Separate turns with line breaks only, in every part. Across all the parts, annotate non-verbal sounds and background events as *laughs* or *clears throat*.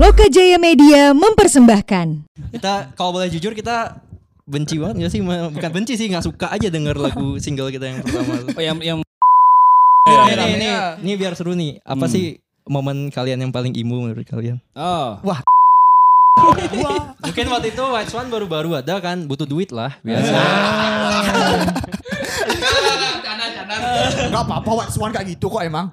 Loka Jaya Media mempersembahkan.
Kita kalau boleh jujur kita benci banget gak sih? Ma- Bukan benci sih, nggak suka aja denger lagu single kita yang pertama.
Oh yang yang
Ini, ini, ini, ini biar seru nih. Apa
Hmm.
sih momen kalian yang paling imu menurut kalian?
oh.
Mungkin waktu itu White Swan baru-baru ada kan, butuh duit lah
Ah,
biasa.
Gak apa-apa, Wax One kayak gitu kok emang.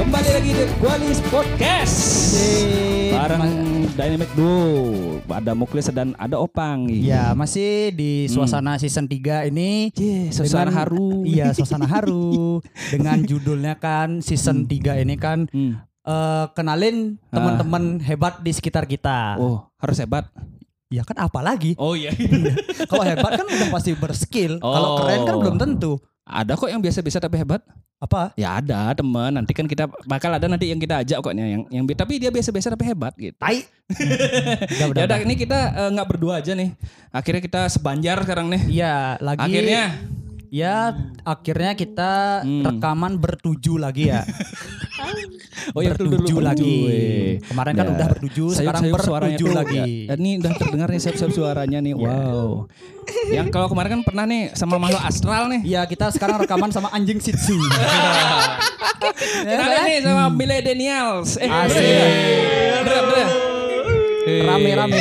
Kembali lagi di Guanis Podcast. Bareng Dynamic Duo. Ada Muklis dan ada Opang.
Ya masih di suasana season 3 ini
Yeah, Hmm. suasana haru.
*laughs* Iya suasana
*laughs*
haru Dengan judulnya kan season 3 ini kan
Hmm.
eh, Kenalin teman-teman hebat di sekitar
Ah.
kita
Oh, harus hebat.
Ya kan apalagi
Oh iya.
Kalau hebat kan udah pasti berskill Kalau
Oh.
keren kan belum tentu
*laughs* ada kok yang biasa-biasa tapi hebat.
Apa?
Ya ada teman. Nanti kan kita bakal ada nanti yang kita ajak koknya yang yang bi- tapi dia biasa-biasa tapi hebat gitu.
Tai
*laughs*
Udah,
Ya
udah,
udah
udah.
ini kita eh, nggak berdua aja nih. Akhirnya kita sebanjar sekarang nih.
Iya lagi
Akhirnya
Ya akhirnya kita
Hmm.
rekaman bertuju lagi
*laughs*
ya
Oh iya, betul, betul,
Bertuju lagi
bertuju.
Kemarin kan
Ya.
udah bertuju Sekarang
Sayup-sayup suaranya Ya.
bertuju
tuh,
lagi
ya. Ini udah terdengar nih sayup-sayup suaranya nih. Wow. Yang kalau kemarin kan pernah nih sama makhluk astral nih.
Iya kita sekarang rekaman sama anjing Shih
*laughs*
Tzu. Ya,
Kita nih sama millennials. Eh,
Asik.
bener, bener.
Rame-rame.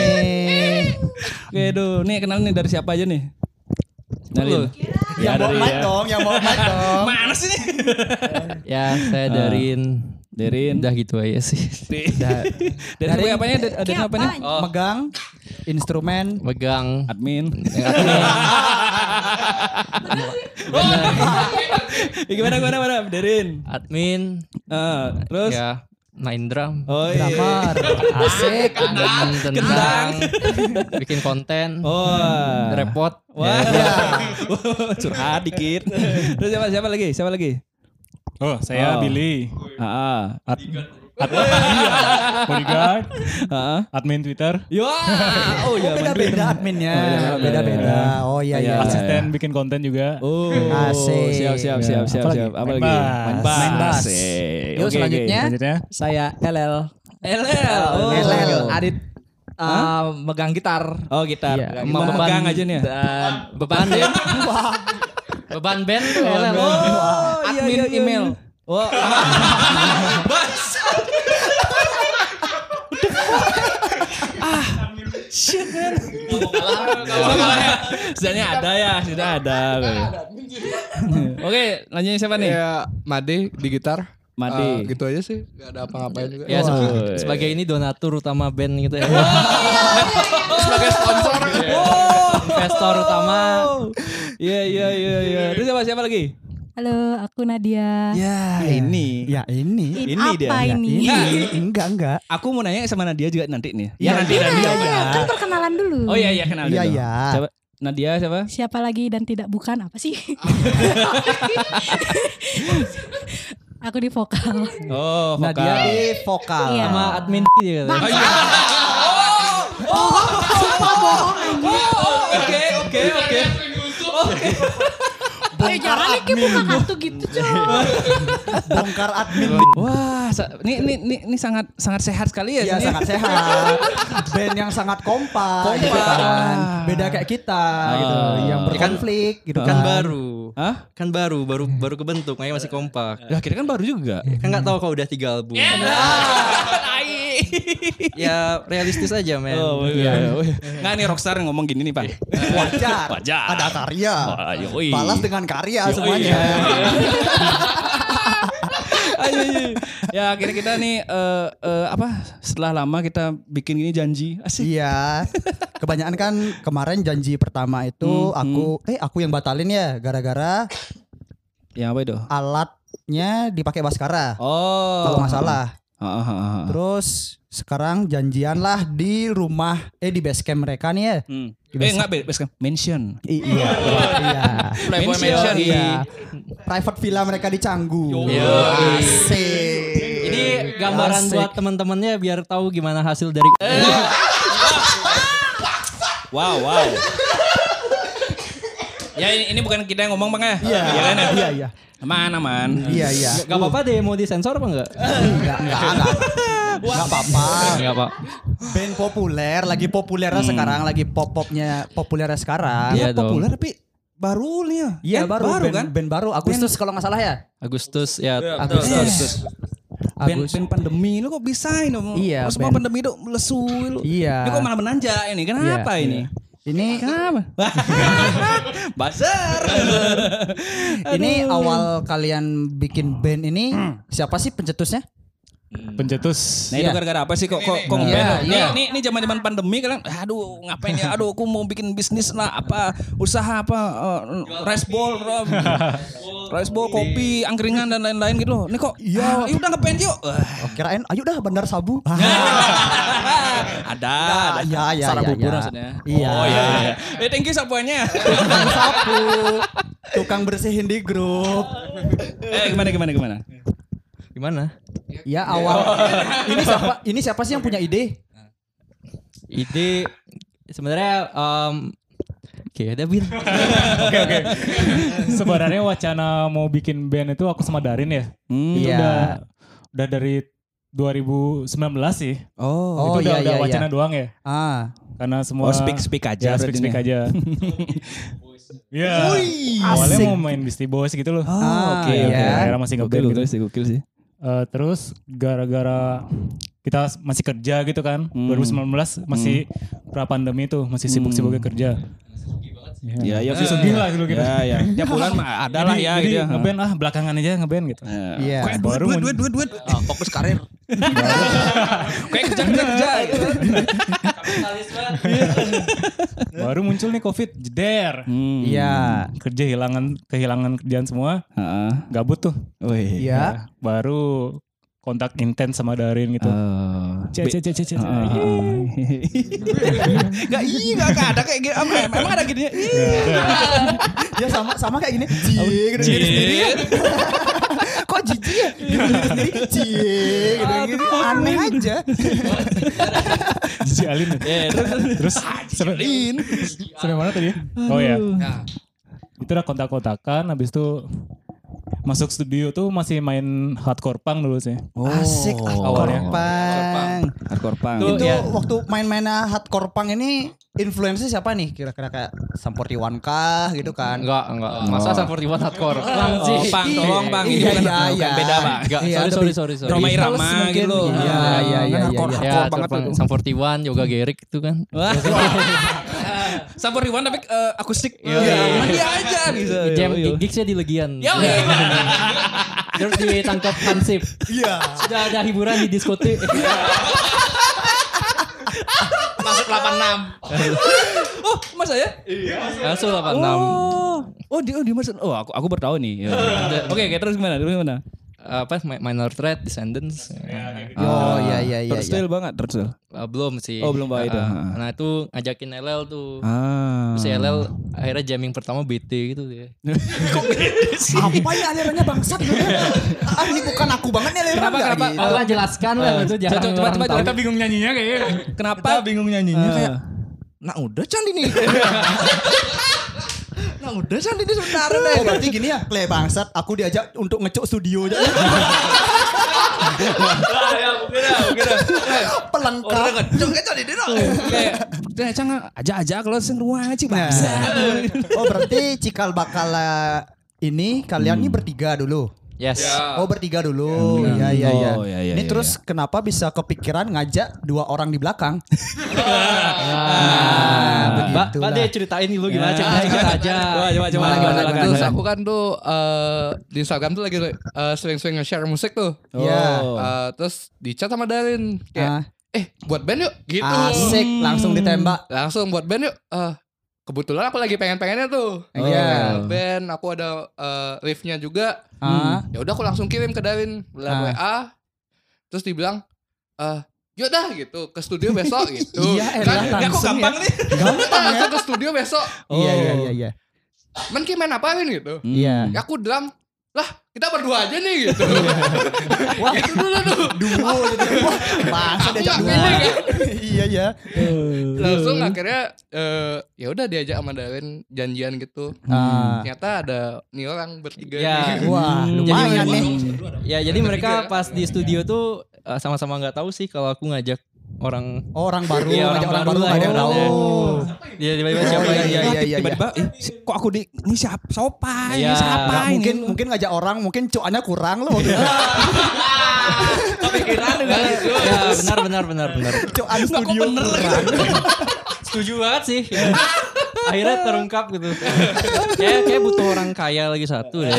Oke, aduh. Nih kenal nih dari siapa aja nih? Kenalin.
yang mau mic dong, yang mau mic *laughs* dong.
Mana sih nih?
ya, saya Darin. Darin. Udah gitu aja sih.
Dari siapa apanya? Dari, dari apanya?
Megang instrumen.
Megang.
*laughs* Admin. Oh, iya. Ya, gimana gimana gimana Derin.
Admin.
Eh, terus
Ya, main drum.
Oh iya.
Drummer. Asik.
Dan tentang bikin konten.
Oh.
Repot. Ya,
Wah.
Ah,
Curhat dikit. *laughs* Terus siapa siapa lagi? Siapa lagi?
Oh,
Oh. ah.
saya Billy.
Heeh.
Ad- ad- iya, bodyguard,
Heeh.
admin Twitter,
Iya.
Yo. Oh iya.
Beda-beda adminnya. Beda-beda. Oh iya iya.
Iya.
iya.
asisten bikin konten juga.
Oh,
Ah, Asik.
siap siap siap siap
Apa lagi?
siap. Apa
Main
lagi?
bass.
Main bass.
Asik.
Yuk
Oke,
selanjutnya
Selanjutnya,
saya LL.
oke. LL. Oh.
LL.
Adit uh, megang gitar.
Oh gitar.
Iya.
Megang- Memegang aja nih. ya?
Dan beban ya.
*laughs*
Beban band tuh.
Oh, iya,
Admin
iya, iya.
email.
Oh. Sebenarnya ada ya, sudah ada. Oke, lanjutnya siapa nih?
Ya Made di gitar.
Made.
Eh, gitu aja sih, gak ada apa-apain juga.
Ya,
Wah,
sebagai, sebagai ini donatur utama band gitu ya.
*laughs*
sebagai sponsor.
Investor utama.
Iya, iya, iya, iya. Terus siapa siapa lagi?
Halo, aku Nadia.
Ya, ini.
Ah.
Ya ini. Ya,
Ini,
ini dia. Iya.
apa ini?
Ini enggak enggak.
Nah, Aku mau nanya sama Nadia juga nanti nih.
Ya,
Iya,
nanti.
iya, kan perkenalan dulu.
Oh iya, iya kenal
Iya
dulu.
iya.
Siapa? Nadia siapa?
Siapa lagi dan tidak bukan apa
*laughs*
sih? aku di vokal.
Oh,
Nah dia di vokal.
Iya.
Sama admin dia. kata.
Oke, oke, oke.
Eh, jangan lagi buka kartu gitu, cuy.
Bongkar admin.
Wah, sa- ini ini ini, ini sangat sangat sehat sekali ya.
Iya
sini.
sangat sehat. Band yang sangat kompak. Gitu kan. Beda kayak kita gitu. Yang berkonflik gitu
Kan baru.
Hah?
Kan baru, baru baru kebentuk, makanya masih kompak.
Lah kira kan baru *laughs* juga.
Kan nggak tahu kalau udah tiga album. Iya. ya realistis aja men.
iya. Nggak nih Rockstar ngomong gini *laughs* nih, Pak.
Wajar.
Wajar.
Ada karya.
Wah, yoi.
Balas dengan karya
Yoi.
semuanya.
Ayo, ayo. ya akhirnya kita nih eh, eh, apa setelah lama kita bikin gini janji asik
Iya. Kebanyakan kan kemarin janji pertama itu
Hmm,
aku eh aku yang batalin ya gara-gara
yang apa itu
alatnya dipakai Baskara.
oh
Kalau nggak salah.
Ah, ah, ah, ah.
Terus sekarang janjian lah di rumah eh di base camp mereka nih ya.
Hmm.
Di
eh
base-
nggak bebas kan mention
I-
*laughs*
iya. iya.
Playboy
Iya,
mention
iya. Private villa mereka di Canggu. Asik.
Ini gak gambaran buat teman-temannya biar tahu gimana hasil dari
Wow, wow.
Ya ini, ini bukan kita yang ngomong bang ya.
Iya,
Ya kan, ya?
iya, iya.
Aman aman.
Iya, iya.
Gak apa-apa deh mau disensor apa enggak?
Enggak, enggak, enggak. Enggak apa-apa.
Enggak pak.
Band populer, lagi populernya sekarang, lagi pop-popnya populernya sekarang.
Hmm. Iya dong.
populer tapi baru nih ya. Iya, baru,
baru
band,
kan?
Band baru Agustus kalau nggak salah ya.
Agustus ya.
Agustus.
Band,
Agustus.
band pandemi lu kok bisa ini? Om?
Iya,
Lu Semua
band.
pandemi itu lesu lu.
Iya.
Ini kok malah menanjak ini? Kenapa
Iya,
*laughs* ini?
Ini
Kenapa? Bazar.
ini awal kalian bikin band ini siapa sih pencetusnya?
Pencetus.
Nah itu
Iya.
gara-gara apa sih kok kok kok ngeband?
Iya,
Ini-
iya.
Ini ini zaman-zaman pandemi kalian aduh ngapain ya? Aduh aku mau bikin bisnis lah apa usaha apa eh, rice bowl Rob. *laughs* rice bowl kopi angkringan dan lain-lain gitu loh. Ini kok
Iya.
ya udah ngeband
*laughs*
yuk. Ah,
Oh, kirain ayo dah Bandar *laughs* Sabu. Ah,
ada ada.
ya, ya,
Sarang
ya,
bubur
ya.
maksudnya.
Iya.
Oh iya. iya. Eh thank you sapuannya.
Tukang sapu, tukang bersihin di grup.
*laughs* eh gimana gimana gimana?
Gimana?
Ya awal. ini siapa? Ini siapa sih yang punya ide?
Ide sebenarnya em Oke, ada bir.
*laughs* Sebenarnya wacana mau bikin band itu aku sama Darin ya. Itu
Iya.
Udah, udah dari 2019 sih.
Oh,
itu udah,
iya,
udah
iya,
wacana
iya.
doang ya.
Ah.
Karena semua
Oh, speak- speak aja
Ya, speak speak
berarti
aja. Iya. Awalnya mau main Beastie Boys gitu loh.
Oh,
Ah, oke,
Iya,
iya.
Akhirnya masih ngeband gitu.
sih, gokil sih.
Eh, terus gara-gara kita masih kerja gitu kan.
Hmm.
2019 masih pra pandemi itu masih sibuk-sibuknya
Hmm.
kerja.
Eh,
Iya, iya sih.
Sugih lah dulu kita.
Iya, iya.
Tiap bulan mah ya, ada lah
Jadi-
ya
jadi
gitu ya. Eh.
Ngeband ah belakangan aja ngeband gitu.
Iya.
Kayak
Baru
duit,
mau-
duit, duit, duit, duit. Ah, fokus karir. Kayak kerja, kerja, kerja.
Baru muncul nih Covid, jeder.
Hmm.
Iya.
Kerja hilangan kehilangan kerjaan semua,
Heeh.
gabut tuh.
Wih.
Iya.
Baru kontak intens sama Darin gitu.
Eh,
Cek cek cek cek cek.
Gak, iya, gak, gak ada kayak gini. Emang emang ada gini ya? Ih.
Ya sama sama kayak gini. Cie gitu diri sendiri. *laughs* Kok jijik ya? Gitu diri sendiri. Cie gitu, gitu. Aneh aja.
*laughs* Jiji Alin. ya?
Iya,
Terus
Ah,
sampai sampai mana tadi? ya? Oh ya. Itu udah kontak-kontakan habis itu masuk studio tuh masih main hardcore punk dulu sih.
Oh.
Asik hardcore
awalnya.
punk.
hardcore punk.
Itu
Iya.
waktu main-mainnya hardcore punk ini influence siapa nih kira-kira kayak Sampurdiwan kah gitu kan?
Enggak, enggak.
Masa asal 41 hardcore? Oh, pang,
Iya,
tolong pang. Ini
iya,
bukan
iya,
bukan
iya.
beda, Pak.
Enggak,
sorry,
Iya, sorry, ada
sorry,
sorry,
sorry,
Roma Irama gitu loh.
Iya, iya, iya, iya.
Hardcore,
Ya,
hardcore banget itu.
Sam 41 Yoga Gerik itu kan.
*laughs* Sampur Riwan tapi eh, akustik. Iya, dia aja gitu.
Jam gigsnya di Legian.
Ya, iya.
Terus ditangkap Hansip.
Iya.
Sudah ada hiburan di *laughs* diskotik.
Masuk 86. Oh, masa ya?
Langsung 86.
Oh, oh dia, oh, dia masuk. Oh, aku aku bertahu nih. Ya. Oke, oke, terus gimana? Terus gimana?
Uhuh. Apa Mi- Minor Threat Descendants.
Oh iya iya iya. iya.
Tercel banget, tercel.
Ah, belum sih.
Oh, belum bawa itu.
Ah, Nah, itu ngajakin LL tuh.
Ah.
Terus LL akhirnya jamming pertama BT gitu dia.
Apa ya alirannya bangsat? gitu? ah ini bukan aku banget nih aliran.
Kenapa
enggak
kenapa?
gitu.
Allah
Ah, jelaskan lah itu
Coba coba coba kita bingung nyanyinya kayaknya. Kenapa? bingung nyanyinya
Ah.
kayak
Nah udah candi
*laughs*
nih. nah udah candi nih sebentar.
Oh berarti gini ya, play bangsat. Aku diajak untuk ngecok studio aja. Pelengkap.
kayak "Dah, Cang, aja-aja kalau sing ruang aja, Bang."
Nah. Oh berarti cikal bakal eh, ini kalian ini bertiga dulu.
Yes.
Oh bertiga dulu. Iya iya iya.
Oh, iya, iya,
Ini
iya,
terus kenapa bisa kepikiran ngajak dua orang di belakang? Ah,
Ah,
Mbak,
gitu
Mbak
begitulah.
dia ceritain lu
Ya,
gimana ceritanya kita aja.
coba coba
Nah,
gimana, gimana,
terus
gimana?
aku kan tuh eh, di Instagram tuh lagi eh, sering-sering nge-share musik tuh.
Iya.
Eh, terus di chat sama Darin
Ah.
kayak eh buat band yuk gitu.
Asik langsung ditembak.
Langsung buat band yuk. Eh, kebetulan aku lagi pengen-pengennya tuh.
Iya.
Pengen band, aku ada eh, riffnya juga.
Ah.
Ya udah aku langsung kirim ke Darin
Ah.
bilang WA. Terus dibilang eh yuk dah gitu ke studio
*laughs*
besok gitu. Kan,
Iya, elah,
ya kok
langsung
gampang nih. langsung ke studio besok.
Iya iya iya iya.
Men kayak main apain gitu.
*laughs* Iya.
Ya aku drum. Lah lah kita berdua aja nih
*laughs*
gitu. Wah itu dulu tuh.
Duo gitu.
*laughs*
Wah, Masa
Aku
diajak
nggak
duo?
pilih, kan?
Iya ya.
Langsung akhirnya eh, ya udah diajak sama Darren janjian gitu.
Hmm.
Ah.
Ternyata ada nih orang bertiga.
Iya.
Ya,
nih.
Wah,
Hmm.
lumayan nih.
ya jadi mereka pas di studio tuh eh, sama-sama nggak tahu sih kalau aku ngajak orang
Orang baru,
Iya,
ngajak orang
orang
baru
baru lah
ada yang
ya.
tahu.
Nah,
dia tiba-tiba siapa
iya,
yang
iya, iya, iya.
tiba-tiba eh, si- kok aku di ini siapa siapa ini
Iya.
siapa
Nah,
ini?
mungkin mungkin ngajak orang, mungkin cuannya kurang loh. waktu
Iya.
*laughs* itu.
kepikiran dengan nah, ya Iya, benar benar benar benar
Cuan studio
ya?
*laughs*
Iya,
kurang.
setuju banget sih ya. akhirnya terungkap gitu kayak kayak butuh orang kaya lagi satu deh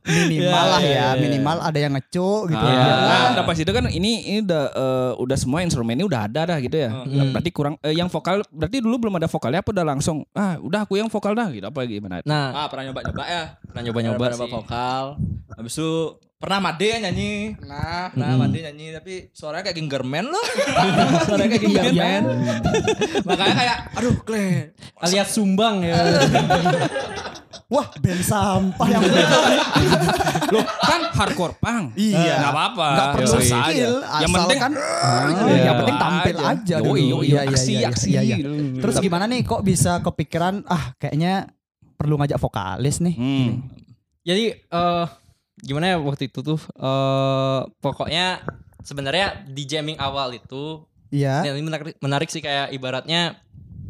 Minimal lah ya, minimal ada yang ngecu gitu.
Iya.
ya.
Nah, udah pas itu kan ini ini udah eh, udah semua instrumennya udah ada dah gitu
Hmm.
ya. Berarti kurang eh, yang vokal berarti dulu belum ada vokalnya apa udah langsung ah udah aku yang vokal dah gitu apa gimana?
nah
Ah pernah nyoba-nyoba ya.
pernah nyoba-nyoba
Pernah nyoba
sih.
vokal. Habis itu pernah Made yang nyanyi.
Nah,
Pernah Made nyanyi tapi suaranya kayak Gingerman loh. *laughs* suaranya kayak Gingerman. *laughs* Makanya kayak aduh Glenn.
alias sumbang ya
Wah, band sampah
Iya,
yang
Loh, kan hardcore punk.
Iya.
Enggak apa-apa.
Enggak perlu
Biasa aja.
skill,
iya. Yang
asal
penting
kan
iya.
yang penting tampil
Aja.
aja
Yoi,
dulu. Iya,
yoi, aksi, aksi.
Terus gimana nih kok bisa kepikiran ah kayaknya perlu ngajak vokalis nih.
Hmm.
jadi eh gimana ya waktu itu tuh eh pokoknya sebenarnya di jamming awal itu
Iya.
ini menarik, menarik sih kayak ibaratnya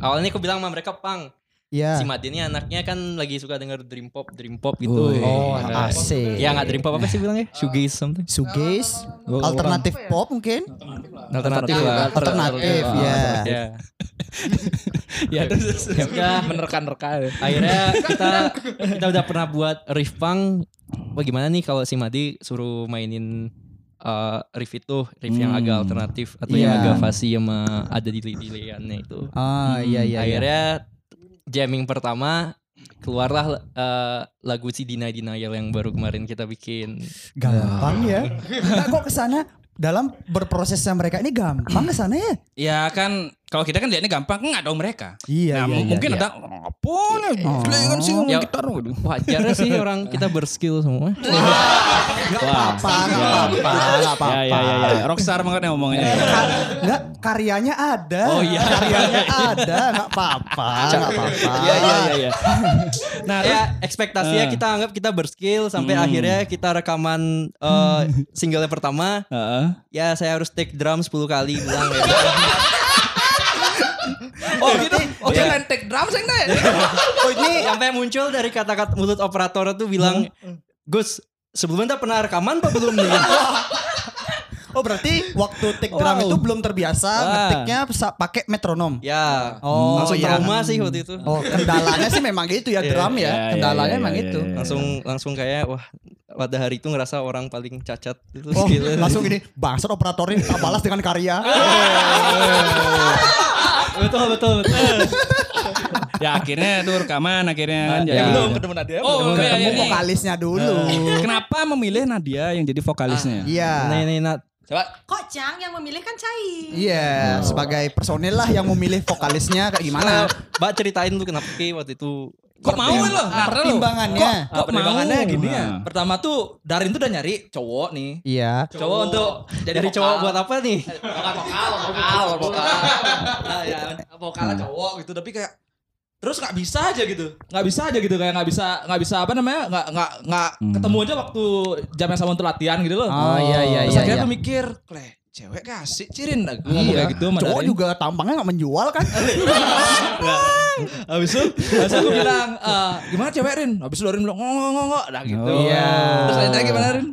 awalnya aku bilang sama mereka pang si
Iya.
Made ini anaknya kan lagi suka denger dream pop dream pop gitu
Oh,
Ada-
asik.
ya nggak dream pop apa
Eh.
sih bilangnya shoegaze something
Suges, alternatif pop mungkin,
alternatif lah
alternatif ya.
*laughs* ya
Ya terus
ya udah
menerkan-rekan.
akhirnya kita kita udah pernah buat riff punk wah gimana nih kalau si Madi suruh mainin eh, riff itu riff yang
Hmm.
agak alternatif atau yang
Iya.
agak fasi sama ada di diliannya itu
Ah, iya iya. iya.
akhirnya jamming pertama keluarlah eh, lagu si Deny Denial yang baru kemarin kita bikin
Gampang ya. Enggak kok kesana dalam berprosesnya mereka ini gampang kesana ya.
Ya kan kalau kita kan lihatnya gampang enggak dong mereka.
Iya,
Nah,
iya,
mu-
iya,
mungkin
iya.
ada apa nih? Glenn kan sih ngomong
Ya.
gitar. waduh.
wajarnya sih orang
*laughs*
kita berskill semua
Enggak apa-apa, enggak apa-apa, enggak apa-apa.
Ya, ya, ya, ya. Rockstar banget yang ngomongnya.
Iya. Enggak, iya. karyanya ada. Oh iya. Karyanya ada, enggak apa-apa, enggak apa-apa.
Iya, iya, iya, iya.
Nah, ya ekspektasinya kita anggap kita berskill sampai akhirnya kita rekaman eh, single yang pertama.
Heeh.
Ya saya harus take drum 10 kali bilang ya.
oh gitu. Oh, saya main take drum
Iya.
saya nanya.
Oh, ini sampai muncul dari kata-kata mulut operator itu bilang, "Gus, sebelumnya anda pernah rekaman apa belum nih?"
Oh berarti waktu take drum itu belum terbiasa ngetiknya sa- pakai metronom.
ya.
Oh,
langsung
iya.
trauma sih waktu itu.
*laughs*
Oh kendalanya sih memang gitu ya drum
iya,
ya.
iya,
Kendalanya
iya,
memang
iya,
gitu.
iya.
Langsung langsung kayak wah pada hari itu ngerasa orang paling cacat itu
Oh,
ya.
gitu.
langsung gini, bangsat operatornya tak balas dengan karya.
*laughs* Iya,
betul betul. betul.
Ya akhirnya itu rekaman
Nah,
akhirnya kan.
*laughs* ya,
iya,
jadi-
belum
Ketemu Nadia.
Oh, iya,
Ketemu
iya, iya.
vokalisnya
*laughs*
dulu.
Kenapa memilih Nadia yang jadi vokalisnya?
Nih
Iya.
nih Nat.
Kok Cang yang memilih kan Cai.
Oh.
Iya, sebagai personil lah yang memilih vokalisnya kayak
Eh,
gimana.
Nah,
Mbak ceritain lu kenapa Ki waktu itu
Kok mau lo? Karena lo.
Pertimbangannya.
Kok pertimbangannya
mau?
gini
Nah.
ya. Pertama tuh Darin tuh udah nyari cowok nih.
Iya.
Cowok, untuk jadi Eh,
dari cowok buat apa nih?
vokal vokal vokal *laughs* vokal nah, ya, vokalnya cowok gitu tapi kayak terus nggak bisa aja gitu nggak bisa aja gitu kayak nggak bisa nggak bisa apa namanya nggak nggak nggak ketemu aja waktu jam yang sama untuk latihan gitu loh
Oh, iya, iya,
terus
iya,
akhirnya
iya.
aku mikir kle cewek kasih cirin dah Gua
Iya,
ngomong kayak gitu sama
Cowok
Darin.
juga tampangnya gak menjual
*laughs*
kan?
habis itu habis aku bilang
*laughs* Ah,
"Eh, gimana cewek Rin habis itu Rin bilang ngong ngong ngong dah gitu
Oh.
Iya.
terus akhirnya gimana Rin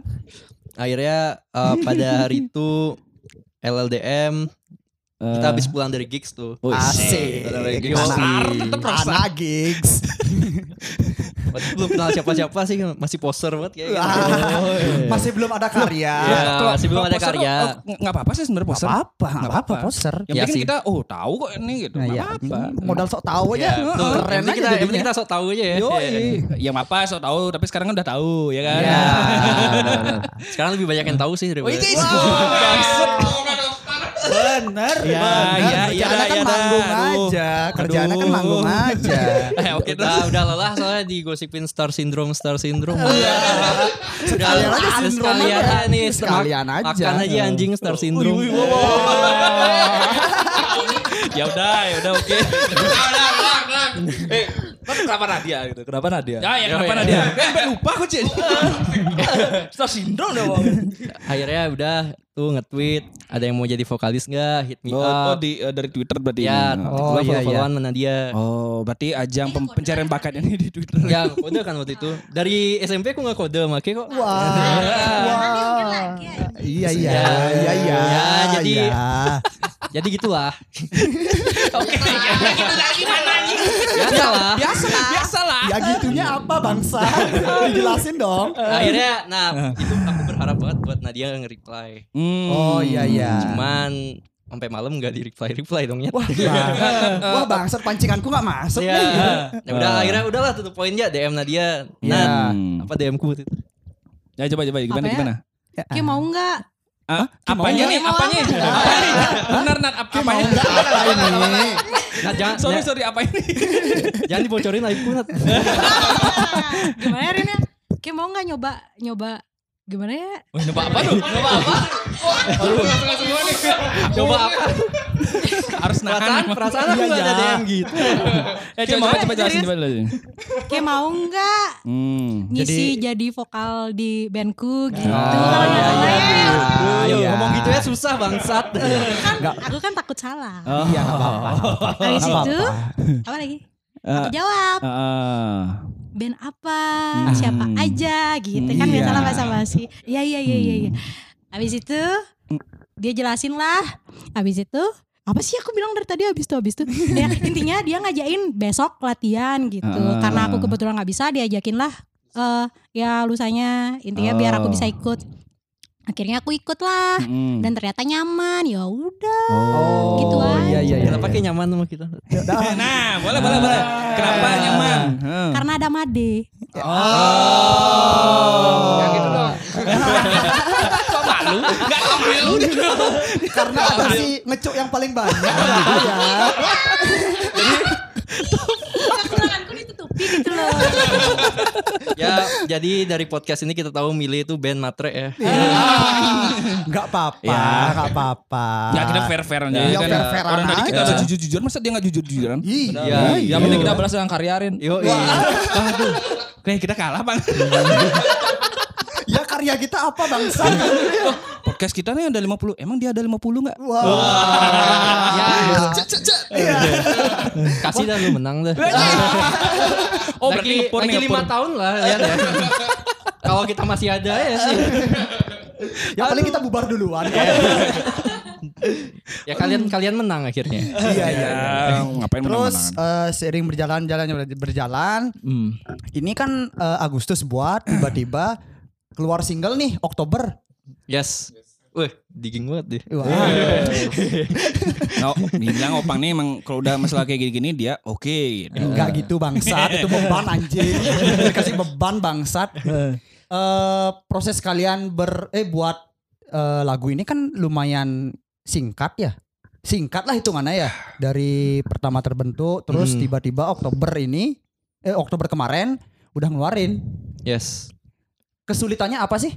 akhirnya eh, pada
*laughs*
hari itu LLDM kita habis pulang dari gigs tuh
Eh. Asik.
Rockstar,
Anak-
tetep rockstar.
Anak
*laughs*
gigs.
Waktu itu belum kenal siapa-siapa sih masih poser banget kayak gitu.
Masih belum
Iya,
ada karya.
Kalau-
masih belum
kalau
ada
poster,
karya
oh,
eh,
ng- Nggak apa-apa sih sebenarnya poster.
apa-apa,
Nggak
nggak apa-apa
apa-apa.
poser.
Yang
Ya
penting
sih.
kita oh tahu kok ini gitu.
Nah,
Nggak
ya,
apa-apa.
modal sok tahu aja.
Tuh,
eh, Keren
yang penting kita,
aja
yang penting
jadinya.
kita sok tahu aja ya. Iya.
Yoi. Yang apa so tahu tapi sekarang kan udah tahu ya kan.
Iya.
Iya.
Sekarang lebih banyak yang tahu sih daripada.
Wah, bangsat.
Bener,
Ya,
bener.
ya, iya
Kerjaannya
dah, iya
kan
dah.
manggung
Aduh.
aja. Kerjaannya kan manggung
*laughs*
aja.
Eh, oke
udah, udah lelah soalnya digosipin star syndrome star syndrome. udah
*laughs* Sekalian aja
lelah,
sindrom
sekalian
aja.
aja nih
Sekalian aja.
Makan aja anjing star syndrome.
ya udah, ya udah oke. *laughs*
Iya. Eh, kan kenapa Nadia gitu? Kenapa Nadia?
Ya, ya kenapa Nadia?
Sampai lupa aku cek. Star syndrome dong.
Akhirnya udah tuh nge-tweet ada yang mau jadi vokalis nggak? Hit me
Oh, oh,
up.
di eh, dari Twitter berarti.
Ya,
ini.
gua
Oh, iya, iya.
follow-followan mana dia.
Oh, berarti ajang pem- pencarian bakat ini di Twitter.
Ya kode kan waktu itu. Dari SMP aku nggak kode makanya kok. *laughs*
Wah.
Nanti mungkin
Wah.
lagi ya.
Iya, iya,
Ya,
iya, iya.
ya, jadi-
iya.
Jadi
*laughs*
gitulah.
Nah, gitu
Kita lagi mana nih?
Biasa Ya, lah.
Biasa lah.
Biasa lah.
Ya *laughs* gitunya apa bangsa? Dijelasin dong.
Akhirnya, nah itu aku berharap banget buat Nadia nge-reply.
Hmm.
Oh iya iya.
Cuman sampai malam nggak di reply reply dongnya. Wah,
*laughs* Bang- Wah bangsat pancinganku nggak masuk
ya. *laughs* ya
nih.
udah akhirnya udahlah tutup poinnya DM Nadia. Nah,
Ya.
Hmm.
apa DM ku?
Ya coba coba gimana
Apa ya?
gimana?
Ki mau nggak?
Ah, apanya
nggak?
nih?
Mau
Apanya?
apa?
Apanya? Benar Nat, apanya?
Apa ini?
Nah, jangan
Sorry
nah,
sorry apa ini?
jangan dibocorin aib ku. Nat.
Gimana ya, Rin ya? Ki mau nggak nyoba nyoba gimana ya?
Coba apa tuh? Coba apa?
*laughs*
Iya.
Coba apa?
Harus
Perasaan
nahan.
perasaan aku nggak
iya.
ada DM gitu.
Eh coba coba coba jelasin coba jelasin.
Ki mau nggak
Hmm.
ngisi jadi, vokal di bandku gitu?
Ah,
Kalau nggak
iya,
salah ya.
iya.
Ayo
Iya.
ngomong gitu ya susah bangsat.
Kan aku kan takut salah.
Iya nggak apa-apa. Nggak
Habis itu
apa-apa. Eh,
apa lagi?
Ah,
Aku jawab
ah.
band apa,
Hmm.
siapa aja gitu kan
Iya.
biasalah bahasa basi. Iya iya iya iya. iya.
Hmm.
Habis itu dia jelasin lah. Habis itu apa sih aku bilang dari tadi habis itu
*laughs*
habis itu ya intinya dia ngajain besok latihan gitu
Ah.
karena aku kebetulan nggak bisa diajakin lah eh ya lusanya intinya biar aku
Oh.
bisa ikut akhirnya aku ikut lah
Hmm.
dan ternyata nyaman ya udah
Oh.
Gitu aja.
iya iya iya.
Kenapa kayak nyaman sama kita?
Iya.
Ah.
Nah, boleh boleh boleh. Kenapa nyaman? Hmm.
karena ada Made
Ya gitu
Oh.
dong.
Karena ada si ngecuk yang paling banyak. gitu *laughs* ya.
kekuranganku ditutupi gitu loh
Ya, jadi dari podcast ini kita tahu milih itu band matre ya.
*laughs* Nggak apa-apa,
Ya.
nggak apa-apa.
Ya kita fair fair aja.
Ya,
Kan,
fair-fairan
Orang tadi kita
aja.
udah jujur jujuran, masa dia nggak jujur jujuran?
Iya.
Iya.
Yang penting kita balas dengan karyarin.
Yo, iya.
Kayak kita kalah bang.
Ya karya kita apa bangsa?
*laughs* Podcast kita nih ada 50 Emang dia ada 50 nggak?
Wah. Ya.
kasih dah lu menang dah. Ah.
Oh
lagi,
berarti impor
lagi
nih
lima
impor.
tahun lah lihat ya. Kalau kita masih ada ya sih.
Ya paling kita bubar duluan. iya.
Ya kalian kalian menang akhirnya.
*laughs* Iya iya.
Ya, ngapain
Terus
menang-menangan?
eh, sering berjalan jalan berjalan.
Hmm.
Ini kan eh, Agustus buat *clears throat* tiba-tiba keluar single nih Oktober.
Yes. Wih, digging banget deh.
Wah.
No, bilang Opang nih emang kalau udah masalah kayak gini-gini dia oke. gitu.
Enggak gitu bangsat, itu beban anjing. Kasih beban bangsat. Eh proses kalian ber eh buat eh, lagu ini kan lumayan singkat ya. Singkat lah hitungannya ya. Dari pertama terbentuk terus
Hmm.
tiba-tiba Oktober ini eh Oktober kemarin udah ngeluarin.
Yes.
Kesulitannya apa sih?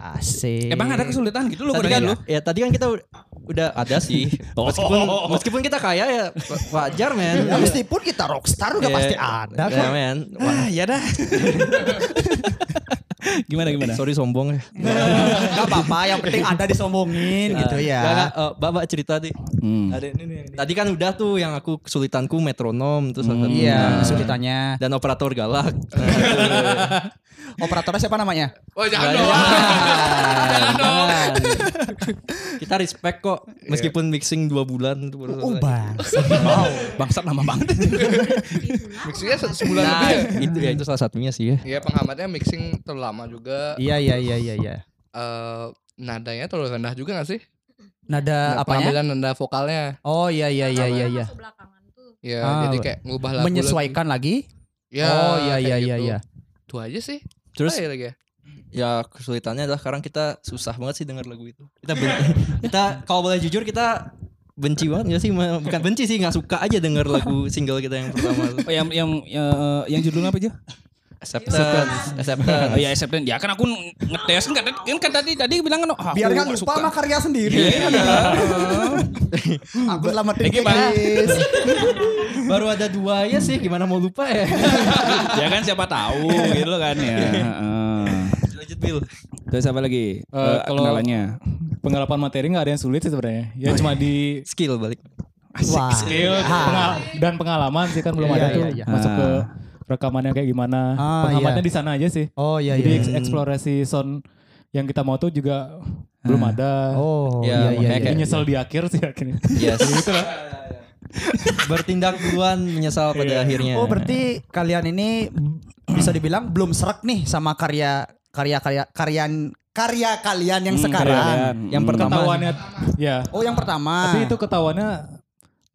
Asik.
Emang ada kesulitan gitu loh
Tadi
ketika
kan,
lu? Oh.
ya tadi kan kita u- udah ada sih. Meskipun meskipun kita kaya ya wa- wajar men.
Ya,
*laughs*
meskipun kita rockstar udah
Ya.
pasti ada
Ya
kok.
men. Wah,
ya dah. gimana gimana?
sorry sombong ya.
Gak apa-apa, yang penting ada disombongin gitu ya.
Gak, gak, eh, Bapak cerita deh.
Hmm.
Tadi kan udah tuh yang aku kesulitanku metronom terus salah satu-
Iya, kesulitannya.
dan operator galak.
Operatornya siapa namanya?
Wah jangan
Jangan.
dong.
*laughs*
Jangan dong.
Kita respect kok meskipun mixing dua bulan itu baru
Oh
selesai.
bang,
Bangsat lama banget.
Mixingnya se- sebulan
Nah,
lebih
*laughs*
ya.
itu ya itu salah satunya sih ya.
Iya penghambatnya mixing terlalu lama juga.
*laughs* Iya iya iya iya. iya.
Eh, nadanya terlalu rendah juga gak sih?
Eh,
Nah,
Nada apanya?
Pengambilan nada vokalnya.
Oh iya iya iya iya. iya.
Ya
Ah,
jadi kayak ngubah lagu.
Menyesuaikan lagi?
Ya,
oh iya
kayak
iya iya
gitu.
iya.
Itu aja sih.
Terus
Apa ya lagi ya?
ya kesulitannya adalah sekarang kita susah banget sih dengar lagu itu. Kita
*laughs*
ben- kita kalau boleh jujur kita benci banget gak sih Ma- bukan benci sih nggak suka aja denger lagu single kita yang pertama
Oh, yang yang eh, yang judulnya apa aja?
acceptance iya. acceptance
Oh ya acceptance. Ya kan aku ngetes kan tadi- kan, kan tadi tadi bilang kan ah, aku
Biarkan
nggak
lupa
suka.
sama karya sendiri. *laughs* Aku selamatin *laughs* guys.
baru ada dua ya sih gimana mau lupa ya
*laughs* ya kan siapa tahu gitu kan ya. Heeh.
lanjut Bill
Terus apa lagi?
Eh,
Eh,
kalau-
kendalanya.
Penggalapan materi nggak ada yang sulit sih sebenarnya.
Oh,
Ya cuma
iya.
di
skill balik
Wah.
skill
Ah.
pengal- dan pengalaman sih kan belum
Iya,
ada
iya,
tuh
iya.
masuk ke rekamannya kayak gimana.
Ah,
Pengamatnya
iya.
di sana aja sih.
Oh iya
Jadi
iya.
eks- eksplorasi sound yang kita mau tuh juga belum ada.
Oh
Ya,
iya iya.
makanya
iya.
Jadi nyesel di akhir sih akhirnya.
*laughs* yes Gitu bertindak duluan menyesal pada akhirnya
Oh berarti kalian ini bisa dibilang belum serak nih sama karya karya karya karyan karya kalian yang sekarang.
yang pertama
Ketahuannya ya.
Oh yang pertama.
Tapi itu ketahuannya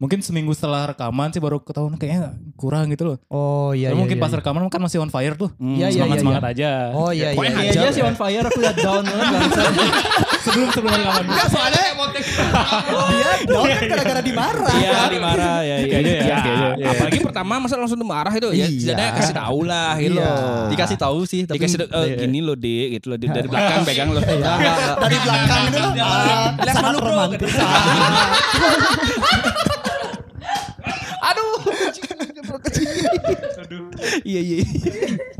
mungkin seminggu setelah rekaman sih baru ketahuan kayaknya kurang gitu loh.
Oh iya. iya,
Tapi mungkin
iya,
pas
iya.
rekaman kan masih on fire tuh.
Ya,
Iya, iya,
semangat semangat
iya,
aja.
Oh iya iya.
Iya
iya.
aja
ya.
sih on fire aku udah down banget
*laughs*
bangsa.
Sebelum sebelum rekaman.
Enggak soalnya mau take
gitu.
*laughs*
Dia down kan gara-gara dimarah.
Iya, dimarah ya. Iya,
aja ya,
iya.
oke aja.
Iya. Apalagi pertama masa langsung marah itu ya. Setidaknya kasih tahu lah gitu.
Iya.
loh.
dikasih tahu sih tapi
Dikasih tahu, eh, gini loh, Dik, gitu loh. Dik, Dari *laughs* belakang pegang loh. Iya.
Dari belakang itu loh. ah, sangat romantis.
Iya, iya.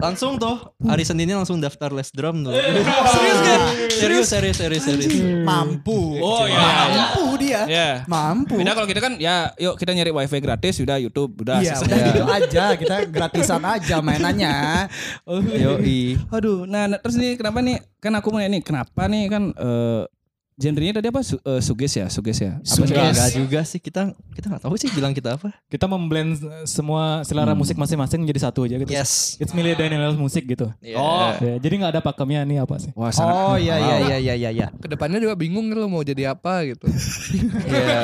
langsung tuh hari Seninnya langsung daftar les drum *laughs* tuh serius kan serius serius serius serius
Mampu.
Oh, iya.
Mampu dia.
Iya.
Mampu.
Beda kalau kita kan ya yuk kita nyari wifi gratis sudah YouTube udah
Iya, udah gitu aja kita gratisan aja mainannya.
yoi
Aduh, nah nah, terus nih kenapa nih? Kan aku mau nih kenapa nih kan eh genrenya tadi apa? Su eh, suges ya, suges ya. Apa sih?
Enggak enggak juga sih kita kita nggak tahu sih bilang kita apa
Kita memblend eh, semua selera musik masing-masing menjadi satu aja gitu.
yes
It's Millie Daniels musik gitu.
oh
Ya, jadi nggak ada pakemnya nih apa sih?
Wah, sangat
Oh iya iya iya iya iya iya.
Kedepannya juga bingung gitu loh mau jadi apa gitu.
Iya.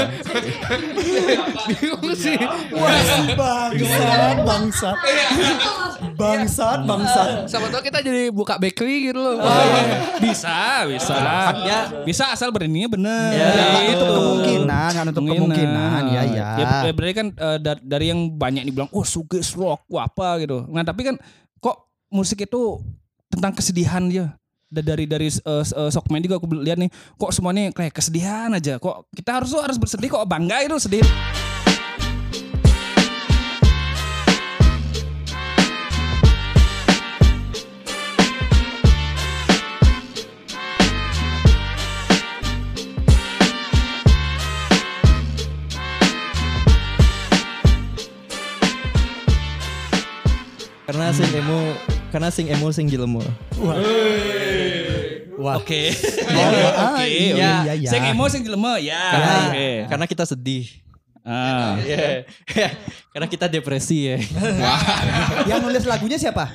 *laughs* bingung sih.
Wah, bangsat, bangsat. Bangsat, bangsat.
Sama tau kita jadi buka bakery
Oh,
gitu loh.
iya. bisa, bisa. Ya, bisa asal beraninya bener.
Ya,
Ya,
itu kemungkinan, kan untuk kemungkinan. Ya, ya.
ya berarti kan eh, da- dari yang banyak dibilang oh suges rock wah, apa gitu. Nah, tapi kan kok musik itu tentang kesedihan dia. Da- Dari dari eh, eh, Sokman juga aku lihat nih, kok semuanya kayak kesedihan aja. Kok kita harus harus bersedih kok bangga itu sedih.
karena sing emo karena sing emo sing jelemu *laughs*
Oke.
Ah,
Oke.
iya, iya, iya.
Sing emo sing jelema ya.
karena,
Oke.
karena kita sedih
Ah.
Iya. *laughs* karena kita depresi ya
Yang nulis lagunya siapa?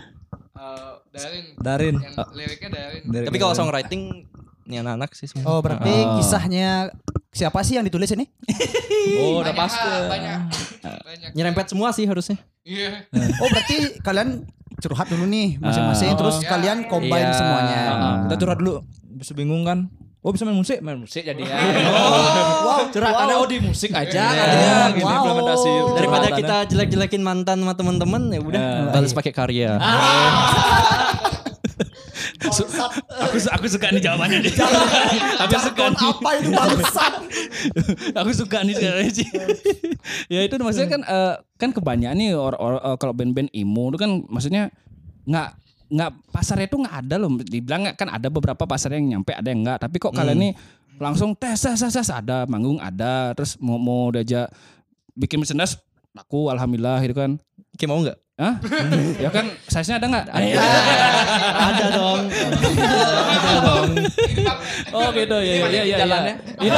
Eh, Darin.
Darin.
Iya.
Yang
Eh,
liriknya Darin.
tapi kalau songwriting ini anak-anak sih semua
Oh, berarti kisahnya siapa sih yang ditulis ini?
Oh, udah
Banyak,
pas.
ah, Banyak.
Nah.
Banyak.
nyerempet semua sih harusnya
Iya.
Oh, berarti kalian curhat dulu nih masing-masing terus kalian combine semuanya.
Kita curhat dulu. Ah. Bisa bingung kan? Oh bisa main musik, main musik jadi ya. *laughs*
Wow,
Curhatannya oh
wow.
di musik aja katanya
Wow.
gini implementasi.
Oh.
daripada kita jelek-jelekin mantan sama teman-teman ya udah balas pakai karya
aku aku suka nih
*laughs*
jawabannya nih. aku suka
Kon
nih.
apa itu bangsat?
*laughs* aku suka nih sekarang sih. *laughs* ya itu maksudnya kan eh, kan kebanyakan nih or- or- eh, kalau band-band emo itu kan maksudnya nggak nggak pasarnya itu nggak ada loh. Dibilang nggak- kan ada beberapa pasar yang nyampe ada yang nggak. Tapi kok
Hmm.
kalian nih langsung tes tes tes, tes, ada manggung ada terus mau mau diajak bikin merchandise aku alhamdulillah gitu kan.
Oke mau nggak
Hah? ya kan size-nya ada nggak? Ada.
Iya. ada dong
Oh gitu ya ya ya. ya, ya. Itu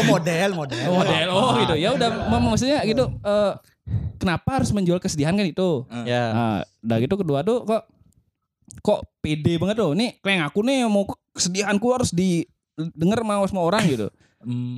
Oh, model, model.
model. Oh gitu. Ya udah mak- maksudnya gitu eh, kenapa harus menjual kesedihan kan itu?
ya
Nah, udah gitu kedua tuh kok kok pede banget loh. Nih kleng aku nih mau kesedihanku harus di denger sama semua orang gitu.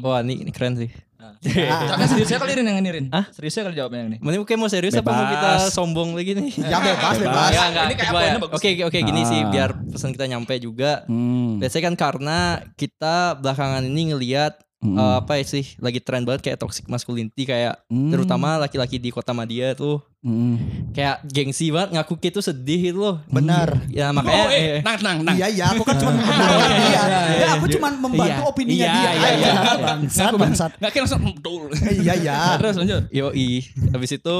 wah ini, ini keren sih
Tapi seriusnya kali Rin yang ngenirin.
Hah?
Seriusnya kali jawabnya yang ini.
Mending mungkin mau serius apa mau kita sombong lagi nih?
Ya bebas, bebas.
Enggak, enggak.
Ini kayak
Kedua
poinnya
ya.
bagus.
Oke, oke gini sih
Ah.
biar pesan kita nyampe juga.
Hmm.
Biasanya kan karena kita belakangan ini ngelihat
Hmm.
eh, apa ya sih lagi tren banget kayak toxic masculinity kayak
Hmm.
terutama laki-laki di kota Madia tuh
Hmm.
kayak gengsi banget ngaku gitu sedih itu loh.
Benar.
Ya
Oh,
makanya eh,
eh, nang, nang, nang.
Iya, iya. Aku kan cuma membenarkan dia. Ya, aku cuma membantu opininya
Iya,
dia.
iya,
aja.
iya.
Bangsat, bangsat.
Nggak kira langsung dul.
Iya, iya.
Terus lanjut.
Yoi. Habis itu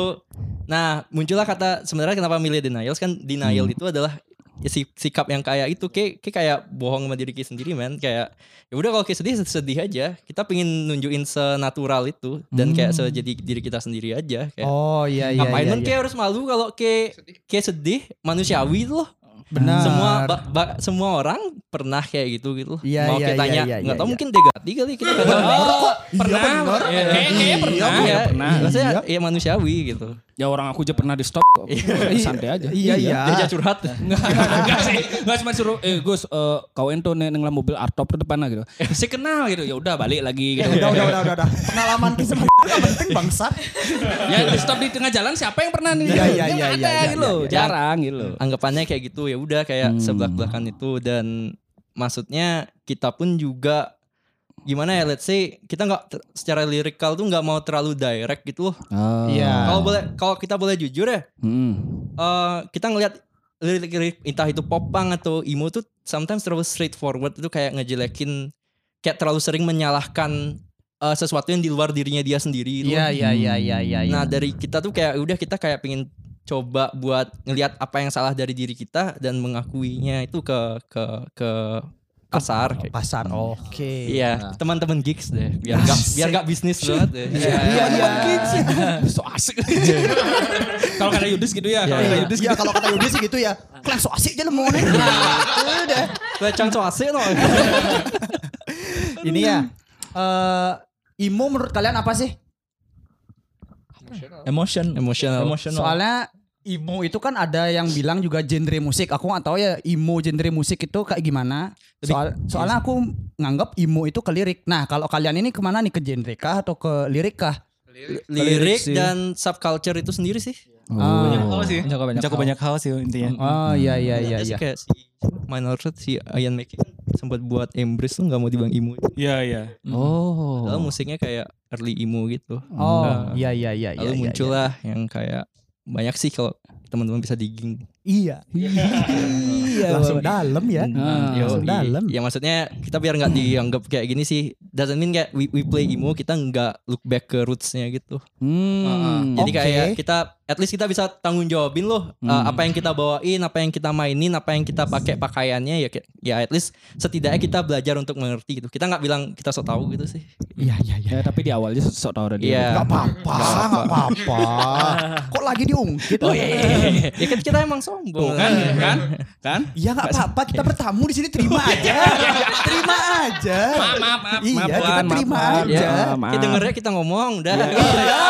nah muncullah kata sebenarnya kenapa milih denials kan denial itu adalah ya si- sikap yang kayak itu kayak kayak kayak bohong sama diri kita sendiri men kayak ya udah kalau kayak sedih sedih aja kita pengen nunjukin senatural itu dan kayak sejadi diri kita sendiri aja kayak
Oh iya iya.
ngapain
iya,
men
iya.
kayak harus malu kalau kayak kayak sedih manusiawi itu loh
Benar.
semua ba- ba- semua orang pernah kayak gitu gitu
Iya,
mau
iya,
kita
iya,
tanya
iya,
nggak
iya,
tahu
iya.
mungkin degati kali kita Iya, kadang-
Pernah. Kayak- Kayaknya pernah.
Iya,
pernah.
maksudnya ya manusiawi gitu.
Ya orang aku aja pernah di stop. kok. Santai aja. *laughs*
Iya iya.
Jajah curhat.
Enggak, enggak sih. Enggak cuma suruh, eh Gus, eh, kau ento nih neng mobil artop ke depan lah gitu. Saya kenal gitu, ya udah balik lagi gitu.
Udah, udah, udah, udah, udah. Pengalaman kisah gak penting bangsat.
ya di stop di tengah jalan siapa yang pernah nih?
Iya, iya,
Kan
iya,
ada
iya, iya,
gitu loh,
iya.
jarang gitu loh.
Anggapannya kayak gitu ya udah kayak
Hmm.
sebelak belakan itu dan maksudnya kita pun juga gimana ya let's say kita nggak ter- secara lirikal tuh nggak mau terlalu direct gitu loh.
Oh.
Iya.
Kalau boleh kalau kita boleh jujur ya
Hmm.
eh, kita ngelihat lirik-lirik entah itu pop punk atau emo tuh sometimes terlalu straightforward itu kayak ngejelekin kayak terlalu sering menyalahkan eh, sesuatu yang di luar dirinya dia sendiri. gitu loh.
Iya iya iya iya iya. iya.
Nah dari kita tuh kayak udah kita kayak pengen coba buat ngelihat apa yang salah dari diri kita dan mengakuinya itu ke ke ke pasar. kayak-
pasar. Oke.
Iya teman-teman gigs deh biar gak biar gak bisnis banget deh. Iya.
Iya, iya.
So asik. Kalau kata Yudis gitu ya, kalau kata
Iya,
Yudis
Iya, kalau kata Yudi sih gitu ya. Kelas so asik aja lemone.
Nah,
Itu Gitu deh.
Kacang coase no.
Ini ya. Eh emo menurut kalian apa sih?
Emotion.
Emotional.
Soalnya emo itu kan ada yang bilang juga genre musik. Aku nggak tahu ya emo genre musik itu kayak gimana. Soal, soalnya aku nganggap emo itu ke lirik. Nah kalau kalian ini kemana nih ke genre kah atau ke lirik kah?
Lirik dan subculture itu sendiri sih.
Oh,
sih. Jago banyak.
Mencakup banyak hal sih intinya.
oh iya iya iya.
Ada sih
iya.
kayak si Minor Threat si Ian McKay kan sempat buat Embrace tuh nggak mau dibilang emo. Oh.
Iya, iya.
Padahal musiknya kayak early emo gitu.
Oh
Nah,
iya iya iya.
Lalu
iya, iya.
muncullah yang kayak banyak sih kalau teman-teman bisa digging
Iya. Nah. Iya.
Langsung dalam ya.
Hmm, yo,
langsung
i-
dalam.
Ya maksudnya kita biar nggak dianggap kayak gini sih. Doesn't mean kayak we, we play emo kita nggak look back ke rootsnya gitu.
Hmm.
Jadi
Oke.
kayak kita at least kita bisa tanggung jawabin loh uh, apa yang kita bawain, apa yang kita mainin, apa yang kita pakai pakaiannya ya kayak- ya at least setidaknya kita belajar untuk mengerti gitu. Kita nggak bilang kita so tau gitu sih.
Iya iya iya.
Ya, tapi di awalnya sok tau dia.
Iya.
Gak apa-apa, gak apa-apa. *laughs* Kok lagi diungkit? Oh
*laughs* ya kan kita emang sombong.
Kan, kan, kan?
Ya nggak Oh, iya. apa-apa, kita bertamu di sini terima aja, terima aja.
Maaf, maaf, maaf.
Iya,
maaf,
kita
Wan, maaf,
terima
Wan.
aja.
Ya,
Iya. Kita dengernya kita ngomong udah. *laughs*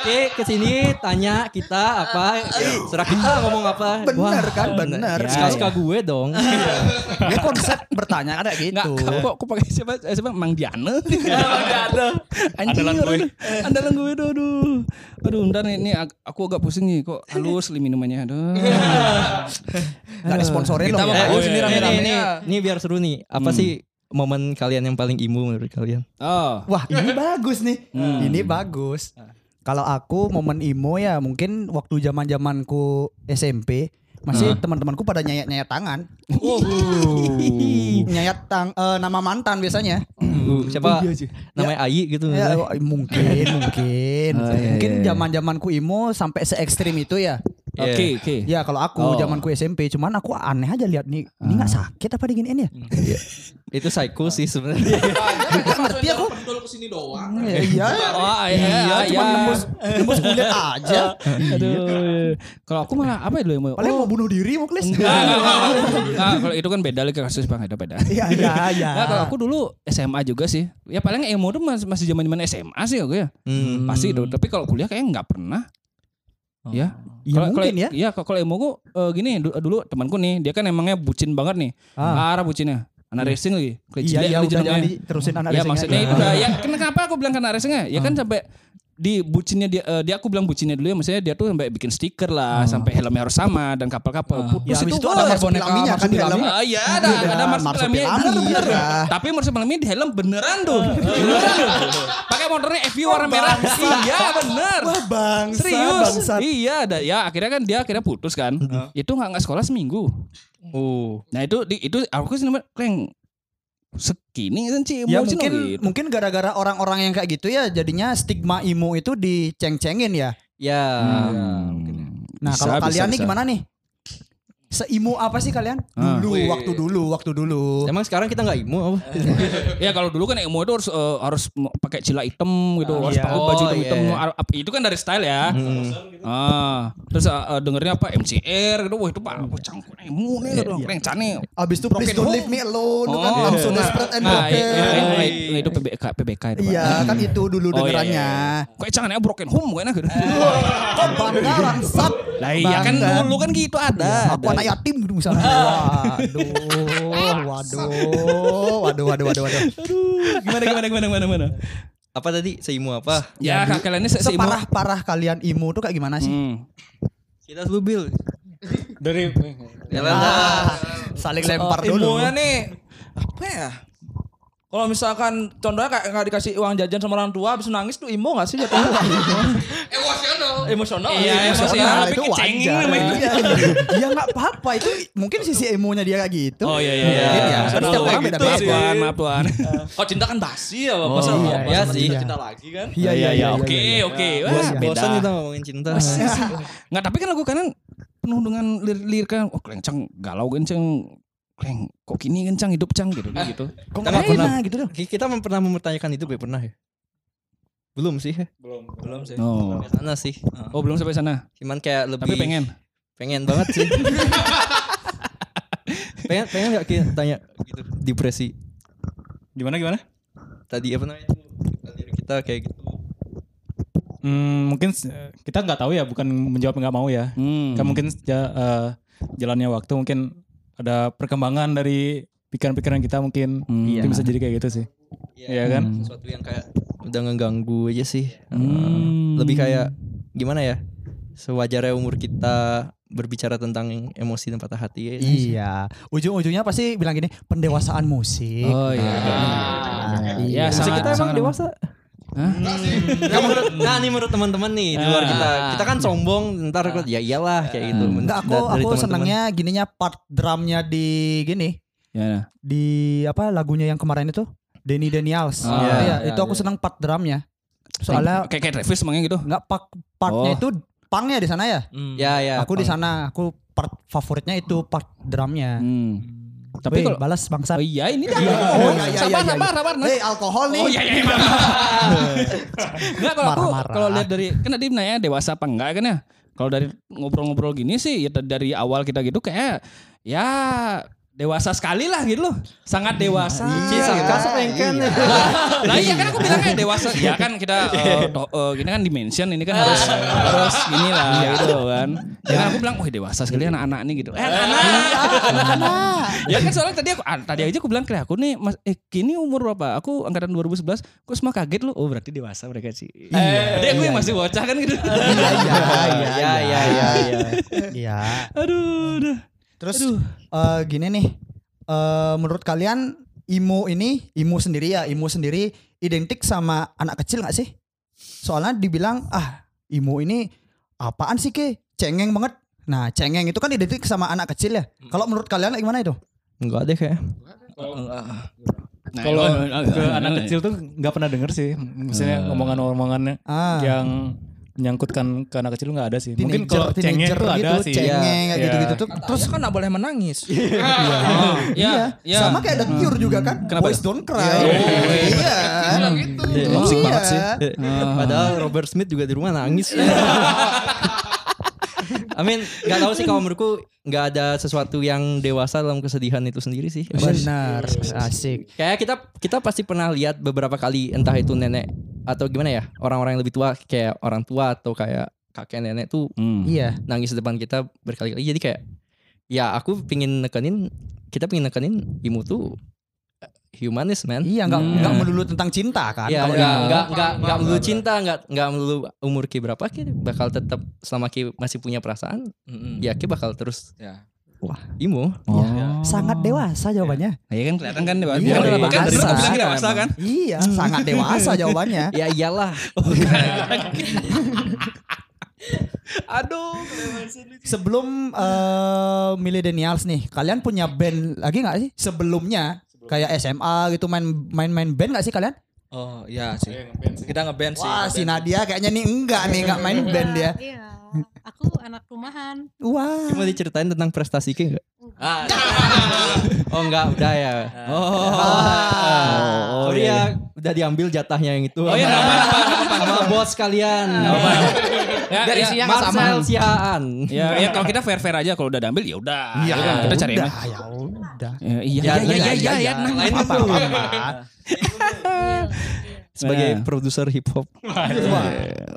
Oke, kesini tanya kita apa, serah kita ngomong apa.
Bener kan, bener.
Suka-suka gue dong. Eh,
Ya konsep bertanya kan kayak
Enggak,
gitu.
kok aku pakai siapa? eh, Siapa? Mang Diana. Mang Diana.
Andalan gue.
Andalan gue aduh, aduh. Aduh, ntar nih, nih ag- aku agak pusing nih kok halus li minumannya. Aduh.
Gak ada sponsornya loh.
Kita
ya.
mau-
Eh,
Oh, iya,
ini,
iya,
ini,
iya.
ini, ini biar seru nih. Apa sih momen kalian yang paling imu menurut kalian?
Oh.
Wah ini bagus nih.
Hmm.
Ini bagus. Kalau aku momen emo ya mungkin waktu zaman zamanku SMP masih
Hmm.
teman-temanku pada nyayat nyayat tangan.
Uh.
nyayat tang eh, nama mantan biasanya.
Siapa namanya Ayi
Hmm.
gitu. misalnya.
Ya, wah, mungkin
*laughs*
mungkin
Oh, iya,
mungkin zaman zamanku emo sampai se ekstrim itu ya.
Iya.
Oke, oke.
Ya kalau aku
Oh. Ah.
zamanku SMP cuman aku aneh aja lihat nih ini nggak sakit apa diginiin
Hmm.
ya?
Itu psycho sih sebenarnya.
Nggak ngerti aku.
Pendol ke sini doang.
Iya.
Oh, iya, iya,
Cuman nembus nembus
*laughs*
kulit aja.
Nah,
iya,
Aduh. Kalau aku malah apa ya dulu yang mau?
Paling mau bunuh diri Muklis.
Enggak, enggak, enggak. Enggak, kalau itu kan beda lagi kasus Bang, itu beda.
*laughs* Iya iya iya.
Nah, kalau aku dulu SMA juga sih. Ya paling emo tuh mas- masih zaman-zaman SMA sih aku ya.
Hmm.
Pasti itu. Tapi kalau kuliah kayaknya nggak pernah. Ya.
Iya,
Kalau- kalau-
mungkin
eh,
ya.
Iya, kalau kalau emo gue gini du- dulu temanku nih, dia kan emangnya bucin banget nih.
Ah.
Parah bucinnya. Anak racing lagi. Kayak
Iya,
cilik
iya,
kali
udah jangan
jenengnya.
diterusin anak
Ya
racing-nya. Ah.
maksudnya itu udah. Ya kenapa aku bilang kena racingnya? Ya kan sampai di bucinnya dia, eh, dia aku bilang bucinnya dulu ya maksudnya dia tuh sampai bikin stiker lah sampai helmnya harus sama dan kapal-kapal putus
Ah. Ya, habis itu ada
wah,
marsupilami-nya kan di dalam.
Ah, iya ada ada marsupilami
marsupilami,
bener bener.
iya.
Tapi marsupilami di helm beneran tuh.
Ah.
Beneran. Pakai motornya FV warna merah. Iya bener.
Wah bangsa,
Serius?
bangsa.
Iya, ada. Ya akhirnya kan dia akhirnya putus kan. Itu nggak nggak sekolah seminggu. Oh. Nah itu di, itu aku sih namanya kleng sekini kan sih
Ya
emosi
mungkin
gitu.
mungkin gara-gara orang-orang yang kayak gitu ya jadinya stigma imu itu diceng-cengin ya.
Ya.
Hmm.
Nah,
Bisa,
kalau
bisa,
kalian nih
bisa.
gimana nih? Seimu apa sih kalian?
Ah.
Dulu, waktu dulu, waktu dulu.
Emang sekarang kita nggak imu apa?
Ya kalau dulu kan emo itu harus eh, harus m- pakai cila hitam gitu, harus
iya.
pakai baju
Oh,
hitam.
iya. Hmm.
ar- ap- Itu kan dari style ya. Ah, terus eh, eh, dengernya apa MCR gitu, wah itu pak wah, cangkul
Iya,
emo nih gitu, kleng cane.
Nah,
Abis itu please don't leave me alone, tuh kan
Oh.
langsung desperate and
iya,
Nah, i-
broken.
i- i- i- Nah, itu PBK PBK itu. Pak.
Iya, kan itu dulu
Oh, iya,
dengerannya.
iya. Kok jangan ya broken home kayaknya gitu.
Iya.
Kok bangga langsat?
Lah iya kan
Bangga.
dulu kan gitu ada.
Aku anak yatim gitu
*laughs*
misalnya. Waduh, waduh, waduh, waduh, waduh, waduh.
Gimana gimana gimana gimana gimana.
Apa tadi seimu apa?
Ya kak, kalian ini se- seimbang.
Separah-parah kalian imu tuh kayak gimana sih?
Hmm.
Kita dulu Bill.
Dari
eh,
Ya,
Nah,
Ah, saling lempar dulu.
Ilmunya nih apa ya? Kalau misalkan contohnya kayak nggak dikasih uang jajan sama orang tua, habis nangis tuh imo nggak sih
*laughs*
jatuhnya?
Emosional.
emosional.
Iya, emosional.
Nah,
tapi
itu
kecengin
wajar.
namanya.
Iya, Iya, nggak apa-apa. Itu mungkin sisi emonya dia kayak gitu.
Oh iya iya. iya.
Mungkin ya. Kan setiap orang
Maaf
beda-beda.
tuan, maaf tuan.
Kalau cinta kan basi ya, masa
iya,
masa
iya
masa
sih.
cinta lagi kan?
Iya iya iya.
Oke oke. Wah, beda.
Bosan kita ngomongin cinta.
Nggak tapi kan lagu kanan penuh dengan lir- lirikan oh klencang galau kenceng kleng kok kini kencang hidup cang gitu kayak gitu.
Eh,
Kok
Kita nggak pernah.
enak gitu dong.
Ki- Kita mem- pernah mempertanyakan itu ya pernah ya? Belum sih.
Belum sih.
Oh.
Ke sana sih.
Oh belum sampai sana.
Cuman kayak lebih
Tapi pengen.
pengen banget
*laughs*
sih. pengen pengen gak Ki tanya gitu depresi
gimana gimana?
tadi apa namanya itu tadi kita kayak gitu.
Hmm, mungkin s- kita nggak tahu ya, bukan menjawab nggak mau ya.
Hmm.
Kan mungkin ja- eh, jalannya waktu mungkin ada perkembangan dari pikiran-pikiran kita mungkin
Hmm.
mungkin bisa jadi kayak gitu sih. Iya kan?
Sesuatu yang kayak udah ngeganggu aja sih. Eh,
Hmm.
Lebih kayak gimana ya? Sewajarnya umur kita berbicara tentang emosi dan patah hati ya.
Iya. Ujung-ujungnya pasti bilang gini, pendewasaan musik.
Oh iya.
Ah,
Ya,
iya.
sangat, sangat dewasa.
Nah, menurut- nah ini menurut teman-teman nih di
Ah.
luar kita. Kita kan sombong, ntar aku- ya iyalah kayak gitu.
Enggak aku
Da- dari
aku
teman-teman.
senangnya gininya part drumnya di gini
Ya.
di apa lagunya yang kemarin itu Denny Daniels.
Ah,
Iya,
iya,
itu aku senang part drumnya. Soalnya Nah.
kayak kayak Travis emangnya gitu.
enggak part partnya
Oh.
itu pangnya di sana ya.
Ya ya.
aku di
Bang.
sana, aku part favoritnya itu part drumnya.
Hmm. Tapi
Weh,
kalau
balas bangsa.
Oh iya ini dah.
Oh, iya, iya,
sabar,
iya, iya.
sabar, sabar.
Hei, alkohol nih.
Oh iya iya. maaf. Enggak kalau aku
Marah-marah.
kalau lihat dari kan tadi nanya dewasa apa enggak kan ya. Kalau dari ngobrol-ngobrol gini sih ya t- dari awal kita gitu kayak ya dewasa sekali lah gitu loh. Sangat dewasa.
Iya,
Ci, sangka
gitu.
sepengken.
Lah iya kan aku bilangnya dewasa. Ya kan kita eh, to- eh, gini kan dimension ini kan harus harus gini lah gitu kan. Ya kan aku bilang wah dewasa sekali anak-anak nih gitu. Eh anak-anak. Ya kan soalnya tadi aku ah, tadi aja aku bilang ke aku nih Mas eh kini umur berapa? Aku angkatan 2011. Aku semua kaget loh. Oh berarti dewasa mereka sih. Eh, dia aku yang masih bocah kan gitu.
Iya, iya,
Ya ya ya. ya.
iya.
Aduh. udah.
Terus eh, gini nih, eh, menurut kalian imu ini, imu sendiri ya, imu sendiri identik sama anak kecil nggak sih? Soalnya dibilang ah imu ini apaan sih ke, cengeng banget. Nah cengeng itu kan identik sama anak kecil ya. Kalau menurut kalian gimana itu?
Enggak deh kayak.
Nah,
Kalau
oh, oh,
ke
oh,
anak
oh,
kecil tuh nggak pernah denger sih. Misalnya omongan-omongannya
Eh. Ah,
yang menyangkutkan ke anak kecil nggak ada sih. Mungkin
teenager,
kalau cengeng
teenager
tuh ada
gitu,
sih.
Cengeng
Iya,
kayak
iya.
gitu-gitu tuh.
Terus kan nggak boleh menangis.
oh,
Iya,
Ya, ya.
sama kayak The Cure juga kan.
Kenapa?
Boys don't cry. Iya.
Bilang gitu.
Toxic
Iya. Ah.
banget sih.
*laughs* Padahal Robert Smith juga di rumah
*laughs*
nangis. I mean, nggak tahu sih kalau menurutku nggak ada sesuatu yang dewasa dalam kesedihan itu sendiri sih.
Benar, asik.
Kayak kita kita pasti pernah lihat beberapa kali entah itu nenek atau gimana ya orang-orang yang lebih tua kayak orang tua atau kayak kakek nenek tuh
Hmm.
Iya.
nangis di depan kita berkali-kali. Jadi kayak ya aku pingin nekenin kita pingin nekenin imu tuh humanis man.
Iya, nggak
Hmm.
nggak melulu tentang cinta kan.
Iya,
Kalau
enggak,
yang-
enggak, enggak, enggak melulu cinta, enggak, enggak melulu umur Ki berapa Ki bakal tetap selama Ki masih punya perasaan, ya Ki bakal terus
Ya.
Wah, imo.
Iya.
Oh. sangat dewasa jawabannya.
Iya kan kelihatan kan dewasa. Kan,
Iya, dewasa.
bener kan bilang dewasa kan?
Iya, sangat dewasa jawabannya.
Ya *laughs* iyalah. iya.
Aduh.
Sebelum eh millennials nih, kalian punya band lagi nggak sih? Sebelumnya kayak SMA gitu main main main band nggak sih kalian?
Oh iya sih. Kita ngeband sih.
Wah, si
ngeband.
Nadia kayaknya nih enggak nih nggak main band dia.
Iya. Aku anak rumahan.
Wah.
Cuma diceritain tentang prestasi Ki enggak?
Ah,
*laughs* Oh enggak, udah ya.
Oh.
Oh, Sorry ya, udah diambil jatahnya yang itu.
Oh iya,
sama,
apa, apa,
sama bos kalian. *laughs*
Ya,
Iya,
Dari
ya,
siang ke sama.
Marcel Siaan.
ya, ya kalau kita fair fair aja kalau udah diambil ya udah.
Iya,
Ya kan, kita cari yang lain.
udah, ya udah.
Ya, Iya iya iya iya iya. tenang.
Lain
Apa
itu.
apa?
Sebagai
Nah.
produser hip hop.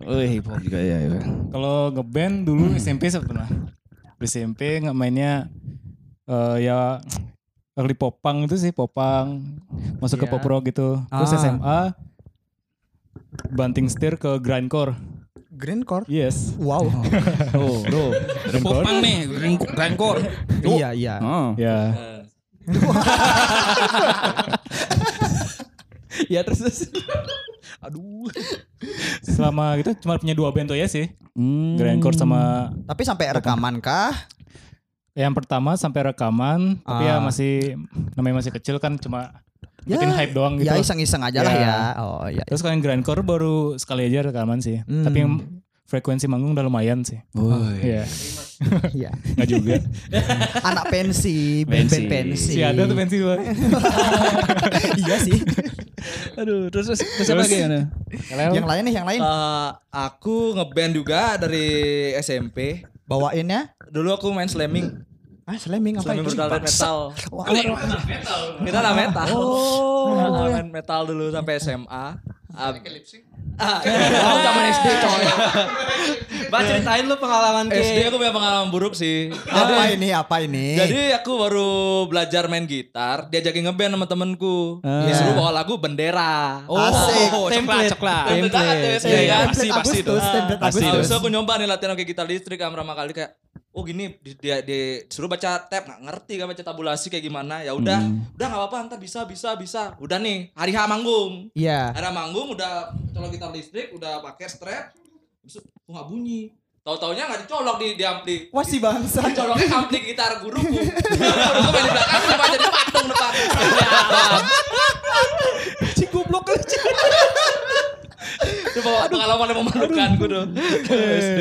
Eh, hip hop juga ya. ya.
Kalau ngeband dulu
Hmm.
SMP pernah. Di SMP nggak mainnya eh, ya early popang itu sih popang masuk ke
Iya.
pop rock gitu. Terus
Ah.
SMA banting setir ke grindcore.
Greencore.
Yes.
*laughs* Wow.
Oh, bro. grindcore.
Popang nih, green green core.
iya, iya.
Heeh.
Ya.
ya terus terus.
Selama gitu cuma punya dua band tuh ya sih.
Hmm.
Grindcore sama
Tapi sampai rekaman kah?
yang pertama sampai rekaman, tapi
Ah.
ya masih namanya masih kecil kan cuma
Ya,
bikin hype doang gitu.
Ya iseng-iseng aja lah
Ya.
ya. Oh iya.
Terus kalau yang grindcore baru sekali aja rekaman sih.
Hmm.
Tapi yang frekuensi manggung udah lumayan sih. Iya.
Iya.
Nggak juga.
*laughs* Anak pensi, band-band pensi.
Si ada tuh pensi gua.
iya sih.
Aduh, terus terus terus apa lagi? Ana?
Yang lain nih, yang lain.
Eh,
Ah.
aku ngeband juga dari SMP.
Bawainnya
Dulu aku main slamming,
Ah, slamming apa
slamming
itu?
brutal death metal.
Wah,
Kita lah metal. Oh, main metal dulu sampai SMA. Ab- Ah,
Wah, zaman SD coy.
Bah ceritain lu pengalaman Ki.
SD aku punya pengalaman buruk sih. Jadi,
Apa ini? Apa ini?
jadi aku baru belajar main gitar, diajakin ngeband sama temenku. Disuruh bawa lagu bendera.
Oh, Asik.
template.
coklat.
Template banget tuh SD
Template Iya,
kan? Pasti,
Agustus,
pasti tuh.
template
Pasti
Agustus.
Abis itu aku nyoba nih latihan kayak gitar listrik kan pertama kali kayak oh gini di- dia dia suruh baca tab nggak ngerti kan baca tabulasi kayak gimana ya udah udah nggak apa-apa ntar bisa bisa bisa udah nih hari H manggung
Iya.
hari H manggung udah colok gitar listrik udah pakai strap terus kok nggak bunyi tahu taunya nggak dicolok di di ampli
Wah si bangsa.
coloknya ampli gitar guruku guruku main di belakang cuma jadi patung depan Ya,
*laughs* Si goblok
itu bawa pengalaman yang memalukan gue tuh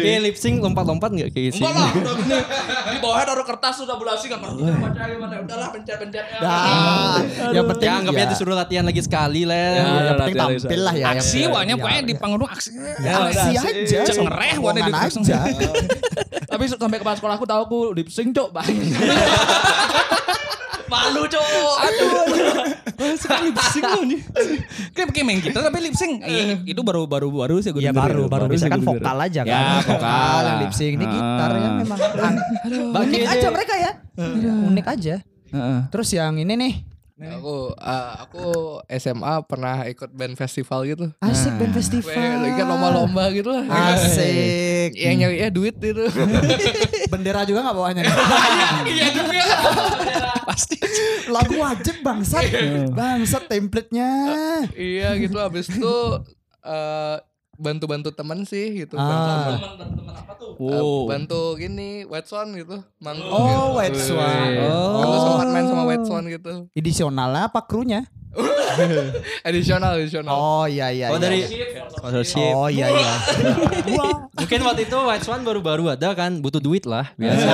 Ki lip sync lompat-lompat enggak kayak gitu?
Enggak lah, udah gini. Di bawahnya taruh kertas udah bulasi enggak ngerti apa cari mana. Udahlah pencet-pencet.
Dah. Yang penting
Ya
iya.
anggapnya disuruh latihan lagi
Ya,
sekali lah.
yang penting
latihan,
tampil lah ya.
Aksi
Yang-
wanya
ya,
pokoknya
ya.
di panggung aksi.
Ya, aksi aja.
Cek ngereh warna
Omongan
di
aja.
Tapi sampai kepala sekolah aku tahu aku lip sync, Cok.
*laughs*
Bang. Malu, Cok. Aduh.
Kayak pakai main gitar tapi lip sync.
Eh.
Iya, itu baru baru baru sih gue
Ya
denger
baru
itu.
baru bisa
sih
kan
gue denger.
vokal aja kan.
Ya, vokal.
yang lip sync ini gitar ya
Ah.
memang. Unik aja mereka ya. Unik aja.
Heeh.
Terus yang ini nih
Aku eh, aku SMA pernah ikut band festival gitu.
Asik band
Kayak
festival.
Ikut lomba-lomba gitu lah.
Asik.
Yang nyari ya duit
*laughs*
itu.
Bendera juga gak bawanya nih?
Iya juga.
Pasti.
Lagu wajib bangsat.
Iya.
bangsat template-nya.
iya gitu habis itu eh, bantu-bantu teman sih gitu. Bantu,
Ah.
teman.
Teman-teman apa tuh?
Eh, bantu gini White Swan gitu. Manggung gitu.
Oh, White Swan.
Dulu sempat main sama White
Oh.
Swan gitu.
Edisionalnya apa krunya?
Additional, additional.
Oh iya iya.
Oh
iya.
dari sponsorship.
Oh iya
*laughs*
iya.
Mungkin waktu itu White Swan baru-baru ada kan, butuh duit lah biasa.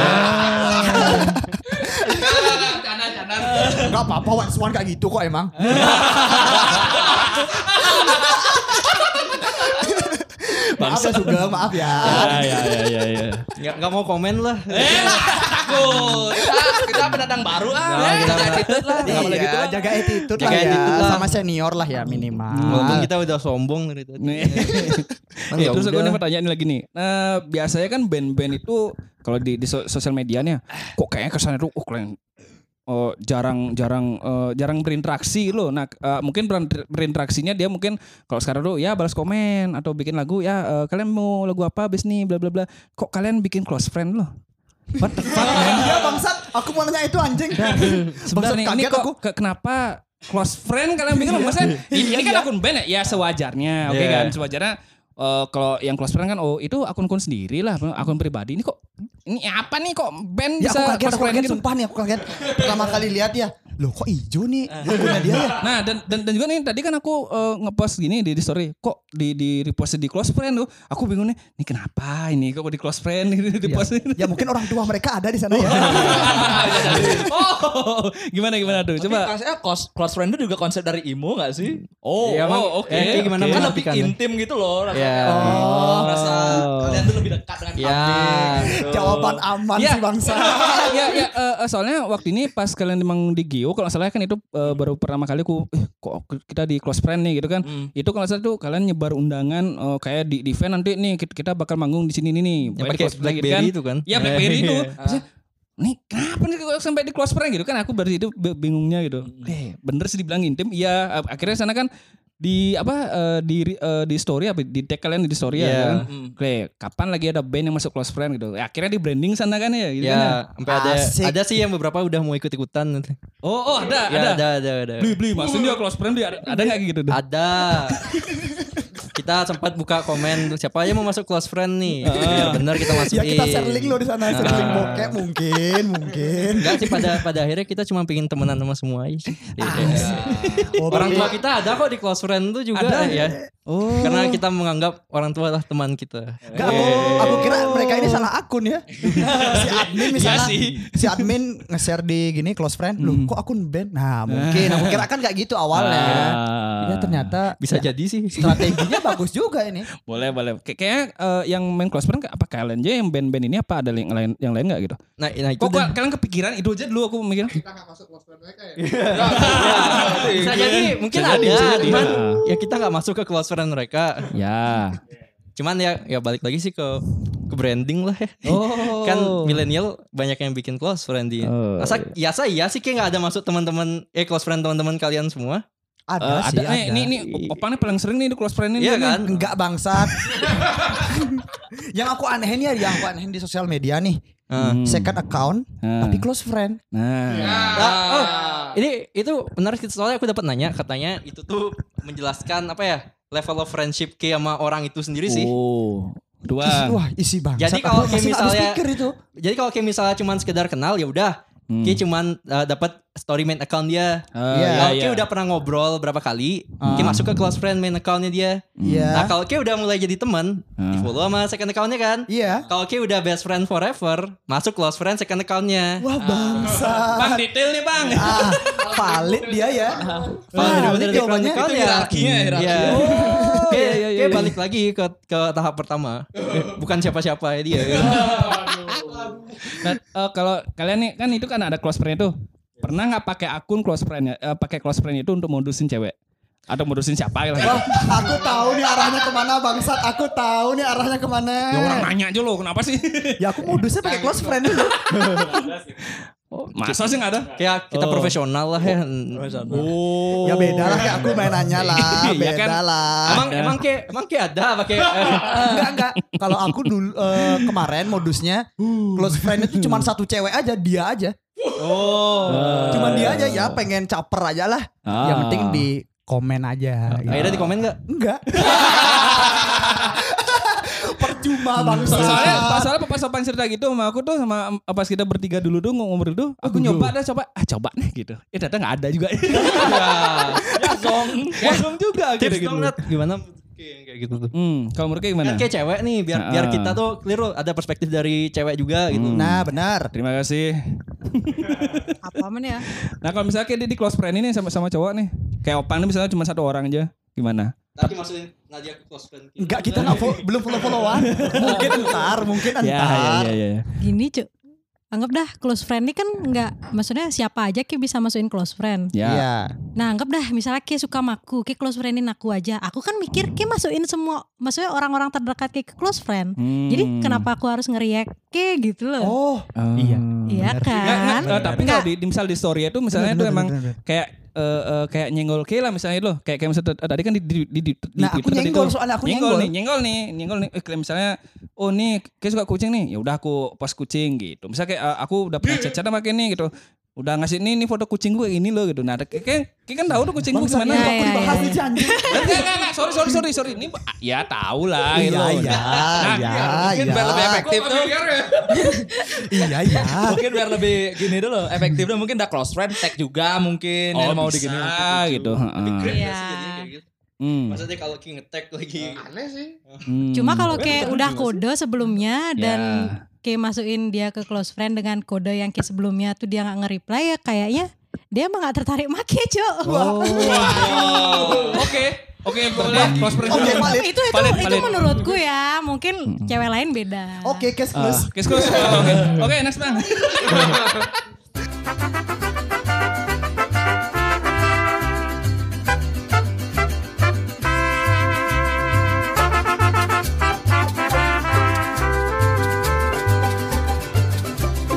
Enggak apa-apa White Swan kayak gitu kok emang.
Eh,
maaf ya Sugeng,
*laughs*
maaf
Iya.
ya.
ya ya ya ya.
Nggak, nggak mau komen lah.
Takut. Kita kita pendatang baru ah.
Nah, kita-
Kita attitude lah. Enggak boleh gitu
Iya,
lah.
jaga attitude
Jaga
lah ya.
attitude lah. gitu.
Sama senior lah ya minimal.
Walaupun kita udah sombong dari tadi.
Nih. Ya, terus aku nih pertanyaan lagi nih. Nah, ya, biasanya kan band-band itu kalau di, di so- sosial medianya kok kayaknya kesannya tuh oh, kalian eh, jarang jarang eh, jarang berinteraksi loh. Nah, eh, mungkin beran- berinteraksinya dia mungkin kalau sekarang tuh ya balas komen atau bikin lagu ya eh, kalian mau lagu apa abis nih bla bla bla. Kok kalian bikin close friend loh? What the fuck? man?
Iya bangsat, aku mau nanya itu anjing.
Sebentar
Bangsat
nih, ini
kaget
kok
aku. Iya,
ke- kenapa close friend kalian bikin
*laughs*
maksudnya ini, ini kan akun band ya? Ya sewajarnya, oke
Iya.
kan? Sewajarnya eh, kalau yang close friend kan oh itu akun-akun sendiri lah, akun pribadi. Ini kok ini apa nih kok band
Ya
bisa
aku kaget,
close
aku
friend
kaget
gitu?
sumpah nih aku kaget. Pertama kali lihat ya, loh kok ijo nih
Eh.
logonya dia ya.
Nah dan, dan dan juga nih tadi kan aku eh, ngepost gini di, di story kok di di repost di close friend tuh aku bingung nih ini kenapa ini kok di close friend *laughs* di post
Ya
*laughs*
mungkin orang tua mereka ada di sana ya.
oh gimana gimana tuh
Coba.
coba
Tapi eh, close, close friend itu juga konsep dari emo gak sih? Oh,
Iya, Bang.
oh, oke.
Ya, kayak gimana
kan lebih
menafikannya?
intim gitu loh rasanya.
*laughs*
Iya.
Oh. Rasa kalian tuh lebih dekat dengan
Ya.
publik. gitu.
Jawaban aman
Ya.
sih
*laughs*
bangsa.
ya ya eh, eh, soalnya waktu ini pas kalian emang di Gio kalau nggak salah kan itu eh, baru pertama kali aku eh, kok kita di close friend nih gitu kan
Hmm.
itu kalau nggak salah tuh kalian nyebar undangan eh, kayak di di event nanti nih kita, kita bakal manggung di sini nih nih
Yang
Pokoknya di
pakai
close friend gitu
Blackberry itu kan.
ya Blackberry itu Maksudnya, nih kenapa nih kok sampai di close friend gitu kan aku berarti itu be- bingungnya gitu
Hmm.
eh bener sih dibilang intim iya eh, akhirnya sana kan di apa eh, di eh, di story apa di tag kalian di story
Iya.
ya kan? Oke, kapan lagi ada band yang masuk close friend gitu Eh, akhirnya di branding sana kan ya gitu kan ya.
Ya, sampai ada
Asik.
ada sih yang beberapa udah mau ikut ikutan nanti.
Oh, oh ada,
Ya,
ada.
ada, ada, ada.
Beli, beli. Maksudnya dia close friend dia ada, ada nggak gitu? Ada.
Ada. kita sempat buka komen siapa aja mau masuk close friend nih. Biar benar kita masukin.
Ya kita
Iya.
share link loh di sana, share
Ah.
link bokep mungkin,
*laughs*
mungkin.
Enggak sih pada pada akhirnya kita cuma pengen temenan sama semua aja. sih. Iya.
Oh,
Orang tua
berarti-
kita ada kok di close friend tuh juga ya. Karena kita menganggap orang tua lah teman kita.
Enggak, aku, aku kira mereka ini salah akun
*laughs*
ya. si
Iya
admin misalnya, si admin nge-share di gini close friend, loh
Hmm.
kok akun band? Nah mungkin, aku kira kan gak gitu awalnya.
Ah.
Ya ternyata
Bisa jadi sih.
strateginya bagus juga
*laughs*
ini.
Iya. Boleh, boleh. Kay- kayaknya eh, yang main close friend apa kalian aja yang band-band ini apa ada yang lain yang lain nggak gitu?
Nah, nah itu
Kok
dah.
kok kalian kepikiran itu aja dulu aku mikir.
Kita nggak masuk close friend mereka ya.
bisa jadi mungkin
Iya. Bisa
ada,
jadi, bisa jadi. Iya.
cuman ya kita nggak masuk ke close friend mereka.
Ya.
Cuman ya ya balik lagi sih ke ke branding lah ya.
Oh.
kan milenial banyak yang bikin close friend di.
Oh,
Masa iya saya iya sih kayak nggak ada masuk teman-teman eh close friend teman-teman kalian semua.
Ada
Eh,
sih,
ada,
ada.
nih, ini ini opane paling sering nih di close friend ini.
Iya
nih.
kan?
Enggak bangsat. *laughs* yang aku anehin ya, yang aku anehin di sosial media nih.
Hmm.
Second account,
Hmm.
tapi close friend.
Nah.
Ah, oh, ini itu menarik soalnya aku dapat nanya katanya itu tuh menjelaskan apa ya level of friendship ke sama orang itu sendiri sih.
Oh. *laughs* Dua.
Isi, wah isi bangsat.
Jadi kalau
Aku
kayak
masih nggak habis
misalnya-
pikir itu.
Jadi kalau kayak misalnya cuman sekedar kenal ya udah, kayak cuman uh, dapat story main account dia.
Eh,
Iya. Hmm.
Kalau
Hmm. iya,
kayak
iya.
udah pernah ngobrol berapa kali, kayak masuk ke close friend main accountnya dia.
Iya.
Nah kalau kayak udah mulai jadi teman,
Hmm.
di follow sama second accountnya kan.
Iya.
Kalau kayak udah best friend forever, masuk close friend second accountnya.
Wah bangsa.
Bang detail nih bang.
Ah, valid dia ya.
Kalau
Wah,
udah
ini
mulai jadi
jawabannya
second account ya.
hierarkinya, hierarkinya.
Iya.
Oh.
Kayak-
iya, iya,
Kayak
iya.
balik lagi ke ke tahap
*laughs*
pertama, Eh, bukan siapa-siapa ya dia.
Nah, eh, kalau kalian nih kan itu kan ada close friend itu. Pernah nggak pakai akun close friend ya? eh, pakai close friend itu untuk modusin cewek atau modusin siapa gitu? lah?
Wah, aku tahu nih arahnya kemana bangsat. Aku tahu nih arahnya kemana.
Ya orang nanya aja lo kenapa sih?
Ya aku modusnya pakai close friend dulu.
*laughs* Masa sih nggak ada?
Kayak
Oh.
kita profesional lah ya.
Oh, Ya beda lah kayak aku main nanya lah,
Iya
beda
kan?
lah.
Emang emang kayak emang kayak ada pakai eh,
Enggak enggak. Kalau aku dulu eh, kemarin modusnya close friend itu cuma satu cewek aja, dia aja. Oh. Cuman dia aja ya pengen caper aja lah. Yang
Eh. Ah.
penting di komen aja. gitu.
akhirnya di komen *laughs* nggak?
Enggak. *laughs* Percuma bangsa.
Soalnya pas soalnya pas sopan cerita gitu sama aku tuh sama em, pas kita bertiga dulu tuh ngobrol dulu, aku nyoba dah coba ah coba nih gitu. Eh ternyata nggak ada juga. *laughs*
*laughs*
Kosong, kosong juga gitu
Ya, Tips
gitu.
dong Nat, gimana? Kayak gitu tuh.
Hmm, kalau menurut kayak gimana?
Kan kayak cewek nih biar biar kita tuh keliru ada perspektif dari cewek juga
Hmm.
gitu.
Nah, benar.
Terima kasih.
Apa men ya?
Nah kalau misalnya kayak dia di close friend ini sama sama cowok nih, kayak opang nih misalnya cuma satu orang aja, gimana?
Tadi maksudin Nadia ke close friend.
Enggak kita enggak fo- belum follow-followan.
*laughs*
mungkin ntar, mungkin ntar.
ya, ya, ya.
Gini cu Anggap dah close friend ini kan nggak maksudnya siapa aja kayak bisa masukin close friend.
Ya.
Iya.
Nah anggap dah misalnya kayak suka sama aku, kayak close friendin aku aja. Aku kan mikir kayak masukin semua, maksudnya orang-orang terdekat kayak ke close friend. Jadi
Hmm.
kenapa aku harus ngeriak kayak gitu loh?
Oh,
iya.
Iya
Nggak, nggak,
kan?
eh, tapi kalau di, di misal di story itu misalnya
Bener,
itu
bener,
emang
bener, bener.
kayak eh, eh, kayak nyenggol K lah misalnya itu kayak kayak misalnya tadi kan di di di, di, di
Nah, aku
Twitter tadi
nyenggol,
tuh.
soalnya aku nyenggol.
nih nyenggol nih nyenggol nih Eh, kayak misalnya oh nih kayak suka kucing nih ya udah aku pas kucing gitu misalnya kayak eh, aku udah pernah cacat sama kayak ini gitu udah ngasih nih ini foto kucing gue ini loh gitu nah ada- kayak kayak kayak kan tahu tuh kucing gue gimana
iya,
Kok
iya,
dibahas
iya.
nih? Enggak, enggak, enggak. sorry sorry sorry sorry ini ya tahu lah gitu
Iya, iya, iya,
mungkin biar
Ah,
lebih
iya.
efektif tuh
ya?
*laughs*
Iya,
*laughs*
iya.
mungkin biar lebih gini dulu efektif dulu mungkin udah close friend tag juga mungkin
oh
yang mau
mau
digini
gitu heeh.
Iya.
Hmm,
gitu. Maksudnya kalau King attack lagi Nah,
Aneh sih.
hmm.
Cuma kalau kayak udah kode sebelumnya dan
Ya.
kayak masukin dia ke close friend dengan kode yang kayak sebelumnya tuh dia nggak nge-reply ya kayaknya dia emang gak tertarik make cok.
Oh, Oke, oke boleh. Close friend.
Oke, Pak Lid.
itu itu
Valid,
itu
valid.
menurutku ya mungkin cewek lain beda.
Oke, kes plus.
Oke, close. Oh, Oke, Oke, next bang.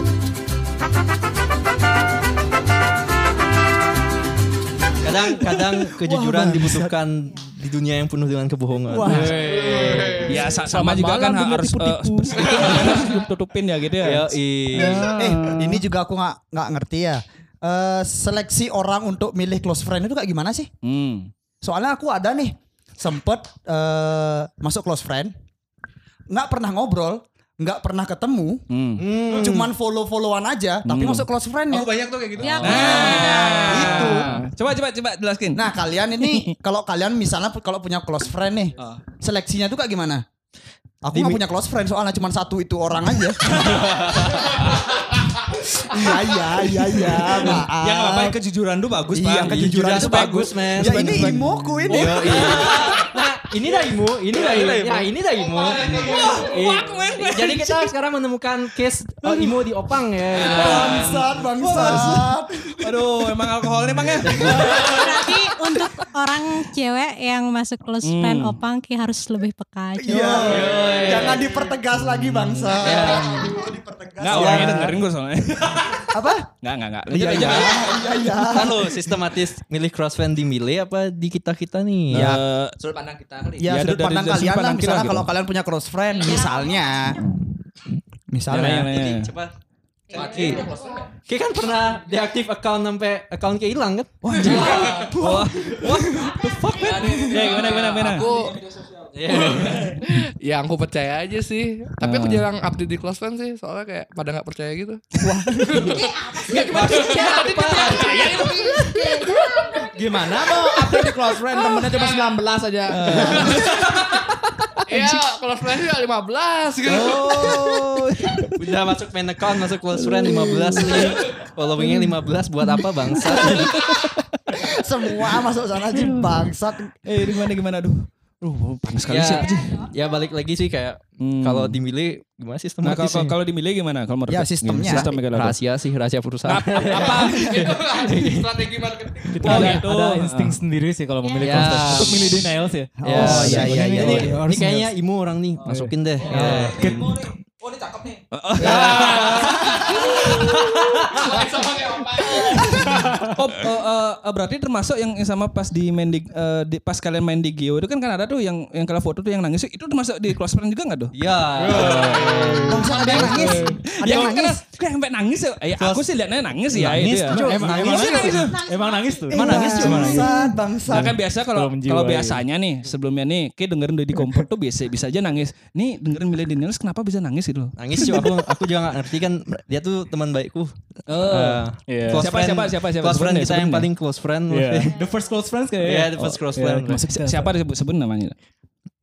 *laughs* kadang-kadang kejujuran dibutuhkan di dunia yang penuh dengan kebohongan.
Ya sa- sama juga kan harus eh, itu harus tutupin ya gitu ya.
Yoi.
Eh, ini juga aku nggak nggak ngerti ya. Eh, seleksi orang untuk milih close friend itu kayak gimana sih?
Hmm.
Soalnya aku ada nih sempet eh, masuk close friend, nggak pernah ngobrol, nggak pernah ketemu, cuman follow followan aja, tapi masuk close friendnya.
Banyak tuh kayak gitu.
Ya,
Nah.
Itu.
Coba coba coba jelaskin.
Nah kalian ini kalau kalian misalnya pu- kalau punya close friend nih, seleksinya tuh kayak gimana? Aku nggak punya close friend soalnya cuman satu itu orang aja. Iya iya iya iya. maaf.
yang apa kejujuran tuh bagus
Iya,
Bang.
kejujuran
Jujur
itu
aja,
bagus,
men.
Ya ini imoku ini.
Nah, ini daimu, ini daimu, ya ini daimu. Iya. Jadi kita sekarang menemukan case oh, Imo di Opang ya. gitu.
Bangsat, bangsat.
Iya. Aduh, emang alkohol nih bang ya.
Berarti untuk orang cewek yang masuk close friend opang kayak harus lebih peka Cok.
Iya. Jangan dipertegas lagi bangsa.
Enggak, orangnya dengerin gue *laughs* soalnya.
Apa?
Enggak, enggak, enggak.
Iya, iya, iya, iya.
Kan lo sistematis milih crossfan di Mile apa di kita-kita nih?
Ya,
Eh,
sudut pandang kita
Iya,
kali
ya,
Ya,
sudut
dari-
pandang
dari sudut
kalian lah
pandang kita
misalnya
gitu.
kalau kalian punya close friend misalnya.
Nah,
ya.
Misalnya.
ya. Iya,
Coba. Mati. Ki iya, kan pernah deaktif account sampai account Ki hilang kan? Wah,
Ya, gimana gimana gimana.
Aku ya aku percaya aja sih tapi
Ah.
aku jarang update di close friend sih soalnya kayak pada nggak percaya gitu *laughs*
gimana mau update di close
*laughs*
friend temennya cuma 19 aja
ya close friend sih 15 gitu
Oh. udah masuk main account, masuk close friend 15 nih. Followingnya 15 buat apa bangsa?
Semua masuk sana aja bangsat.
Eh, gimana gimana aduh. Duh, panas kali
ya,
sih.
ya balik lagi sih kayak
Iya. Hmm.
kalau di Mile gimana
Nah,
sistematis?
kalau
sih?
kalau dimilih gimana? Kalau menurut
Ya,
lu?
sistemnya.
Gimana Sistemnya kalau ada?
rahasia sih, rahasia perusahaan.
apa?
Itu lah, strategi marketing
Kita
Oh,
ada, Iya.
gitu.
ada
*laughs*
insting sendiri sih kalau
Ya.
memilih konsep. Untuk milih denials ya.
Oh, iya, iya, iya,
Ini,
iya.
ini kayaknya Imo orang nih, masukin deh. Ya.
oh ini cakep nih
oh. *laughs*
sama kayak apa
Oh, eh, eh, eh, berarti termasuk yang yang sama pas di main di, eh, di- pas kalian main di Geo itu kan kan ada tuh yang yang kalau foto tuh yang nangis itu termasuk di close friend juga nggak tuh?
Ya.
Bangsat ada yang nangis. Ada yang
kan
nangis.
kan sampai nangis ya. Ya, aku sih liatnya nangis ya.
Nangis
itu ya.
tuh, Cok. Emang emang
Nangis,
nangis tuh.
nangis.
Emang nangis tuh.
Bangsat, bangsat.
Nah, kan biasa kalau
Belum jiwa,
kalau
iya.
biasanya nih sebelumnya nih kayak dengerin Dodi Kompor tuh biasa bisa aja nangis. Nih dengerin millennials kenapa bisa nangis gitu loh.
Nangis juga aku aku juga gak ngerti kan dia tuh teman baikku.
Oh.
Eh,
Iya.
close
Siapa, siapa, siapa, siapa?
Close friend
Sebutin deh,
kita yang
sebutin
paling close friend.
Iya.
*laughs*
The first close friends gitu. kayaknya.
Iya, the first close friend.
Masuk
Si- Siapa disebut sebut namanya?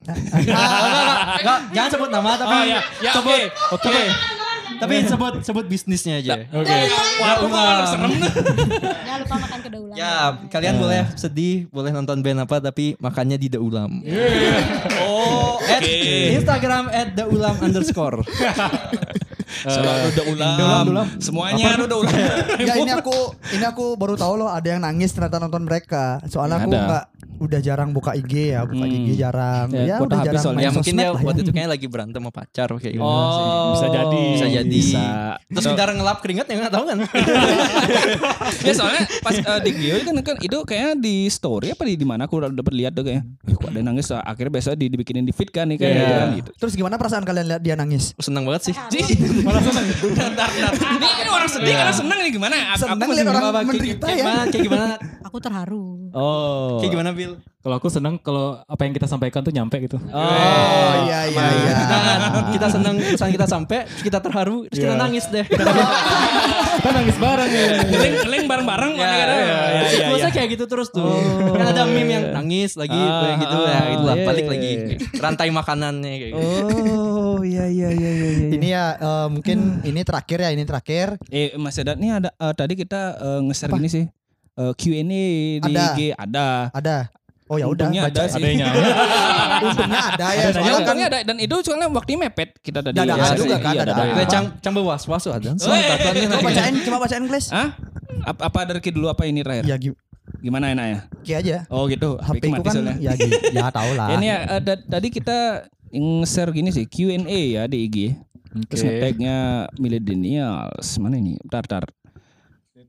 Nggak, jangan sebut nama tapi
Oh, iya.
Ya oke. Oke.
tapi sebut sebut bisnisnya aja.
Jangan lupa makan kedaulangan.
Ya, kalian boleh sedih, boleh nonton band apa tapi makannya di The Ulam. Iya. Oh, at Instagram at The Ulam *laughs* underscore.
Selalu udah ulam. Semuanya udah *laughs* ulam. Ya,
Ya ini aku ini aku baru tahu loh ada yang nangis ternyata nonton mereka. Soalnya aku
Ada.
nggak udah jarang buka IG ya, buka
Hmm.
IG jarang. Ya,
Ya, kuota
udah
habis
jarang
soalnya.
ya
main
mungkin
sosmed
dia
lah
waktu
ya.
itu kayaknya lagi berantem sama pacar kayak gitu
Oh.
Bisa jadi.
bisa jadi
Bisa.
terus kita ngelap keringat ya nggak tahu *laughs* kan
Ya soalnya pas eh, di Gio kan, kan itu kayaknya di story apa di, di mana aku udah dapat lihat tuh kayak kok ada yang nangis ah, akhirnya besok di, dibikinin di feed kan nih kayak
Iya.
gitu kan, gitu.
Terus gimana perasaan kalian lihat dia nangis?
seneng banget sih *laughs*
Ini, ini orang sedih
Iya.
karena senang nih gimana? Aku, aku
Senang
masih
lihat orang
bingung.
menderita
kayak
ya.
gimana kayak gimana
Aku terharu.
Oh.
kayak gimana Bill
Kalau aku seneng kalau apa yang kita sampaikan tuh nyampe gitu.
Oh iya iya iya.
Nah, Eh, kita seneng pesan kita sampai terus kita terharu terus kita
Iya.
nangis deh
Kita nangis bareng ya.
Ngeling ngeling bareng-bareng
Iya,
mana
Ya,
kadang.
ya, ya, Situasinya kayak gitu terus tuh. Kan ada meme yang nangis lagi
Ah,
kayak gitu ya,
ah,
itulah
iya,
balik
iya,
lagi
iya.
rantai makanannya kayak gitu.
Oh iya iya iya iya. iya.
Ini ya eh, mungkin ini terakhir ya ini terakhir.
Eh Mas Edat nih ada eh, tadi kita eh, nge-share gini sih. Eh, Q&A di
Ada.
IG ada.
Ada. Oh ya udah
Untungnya ada
baca.
sih. *laughs* Iya,
Adanya.
Untungnya ada ya.
Ya,
Soalnya kan
untungnya ada dan itu soalnya waktunya mepet kita tadi.
Dadakan
Iya, iya,
juga kan,
iya,
dadakan.
dadakan.
Kayak cang cang was was ada.
coba bacain coba bacain Gles.
Hah? Apa, apa dari Ki dulu apa ini terakhir?
Ya gi-
Gimana enaknya?
gi aja.
Oh gitu.
HP ku
mati
kan
soalnya.
ya gi- ya tau lah.
Ya, ini ya, eh, da- tadi kita nge-share gini sih Q&A ya di IG. Terus nge-tagnya millennials. Mana ini? Bentar, bentar.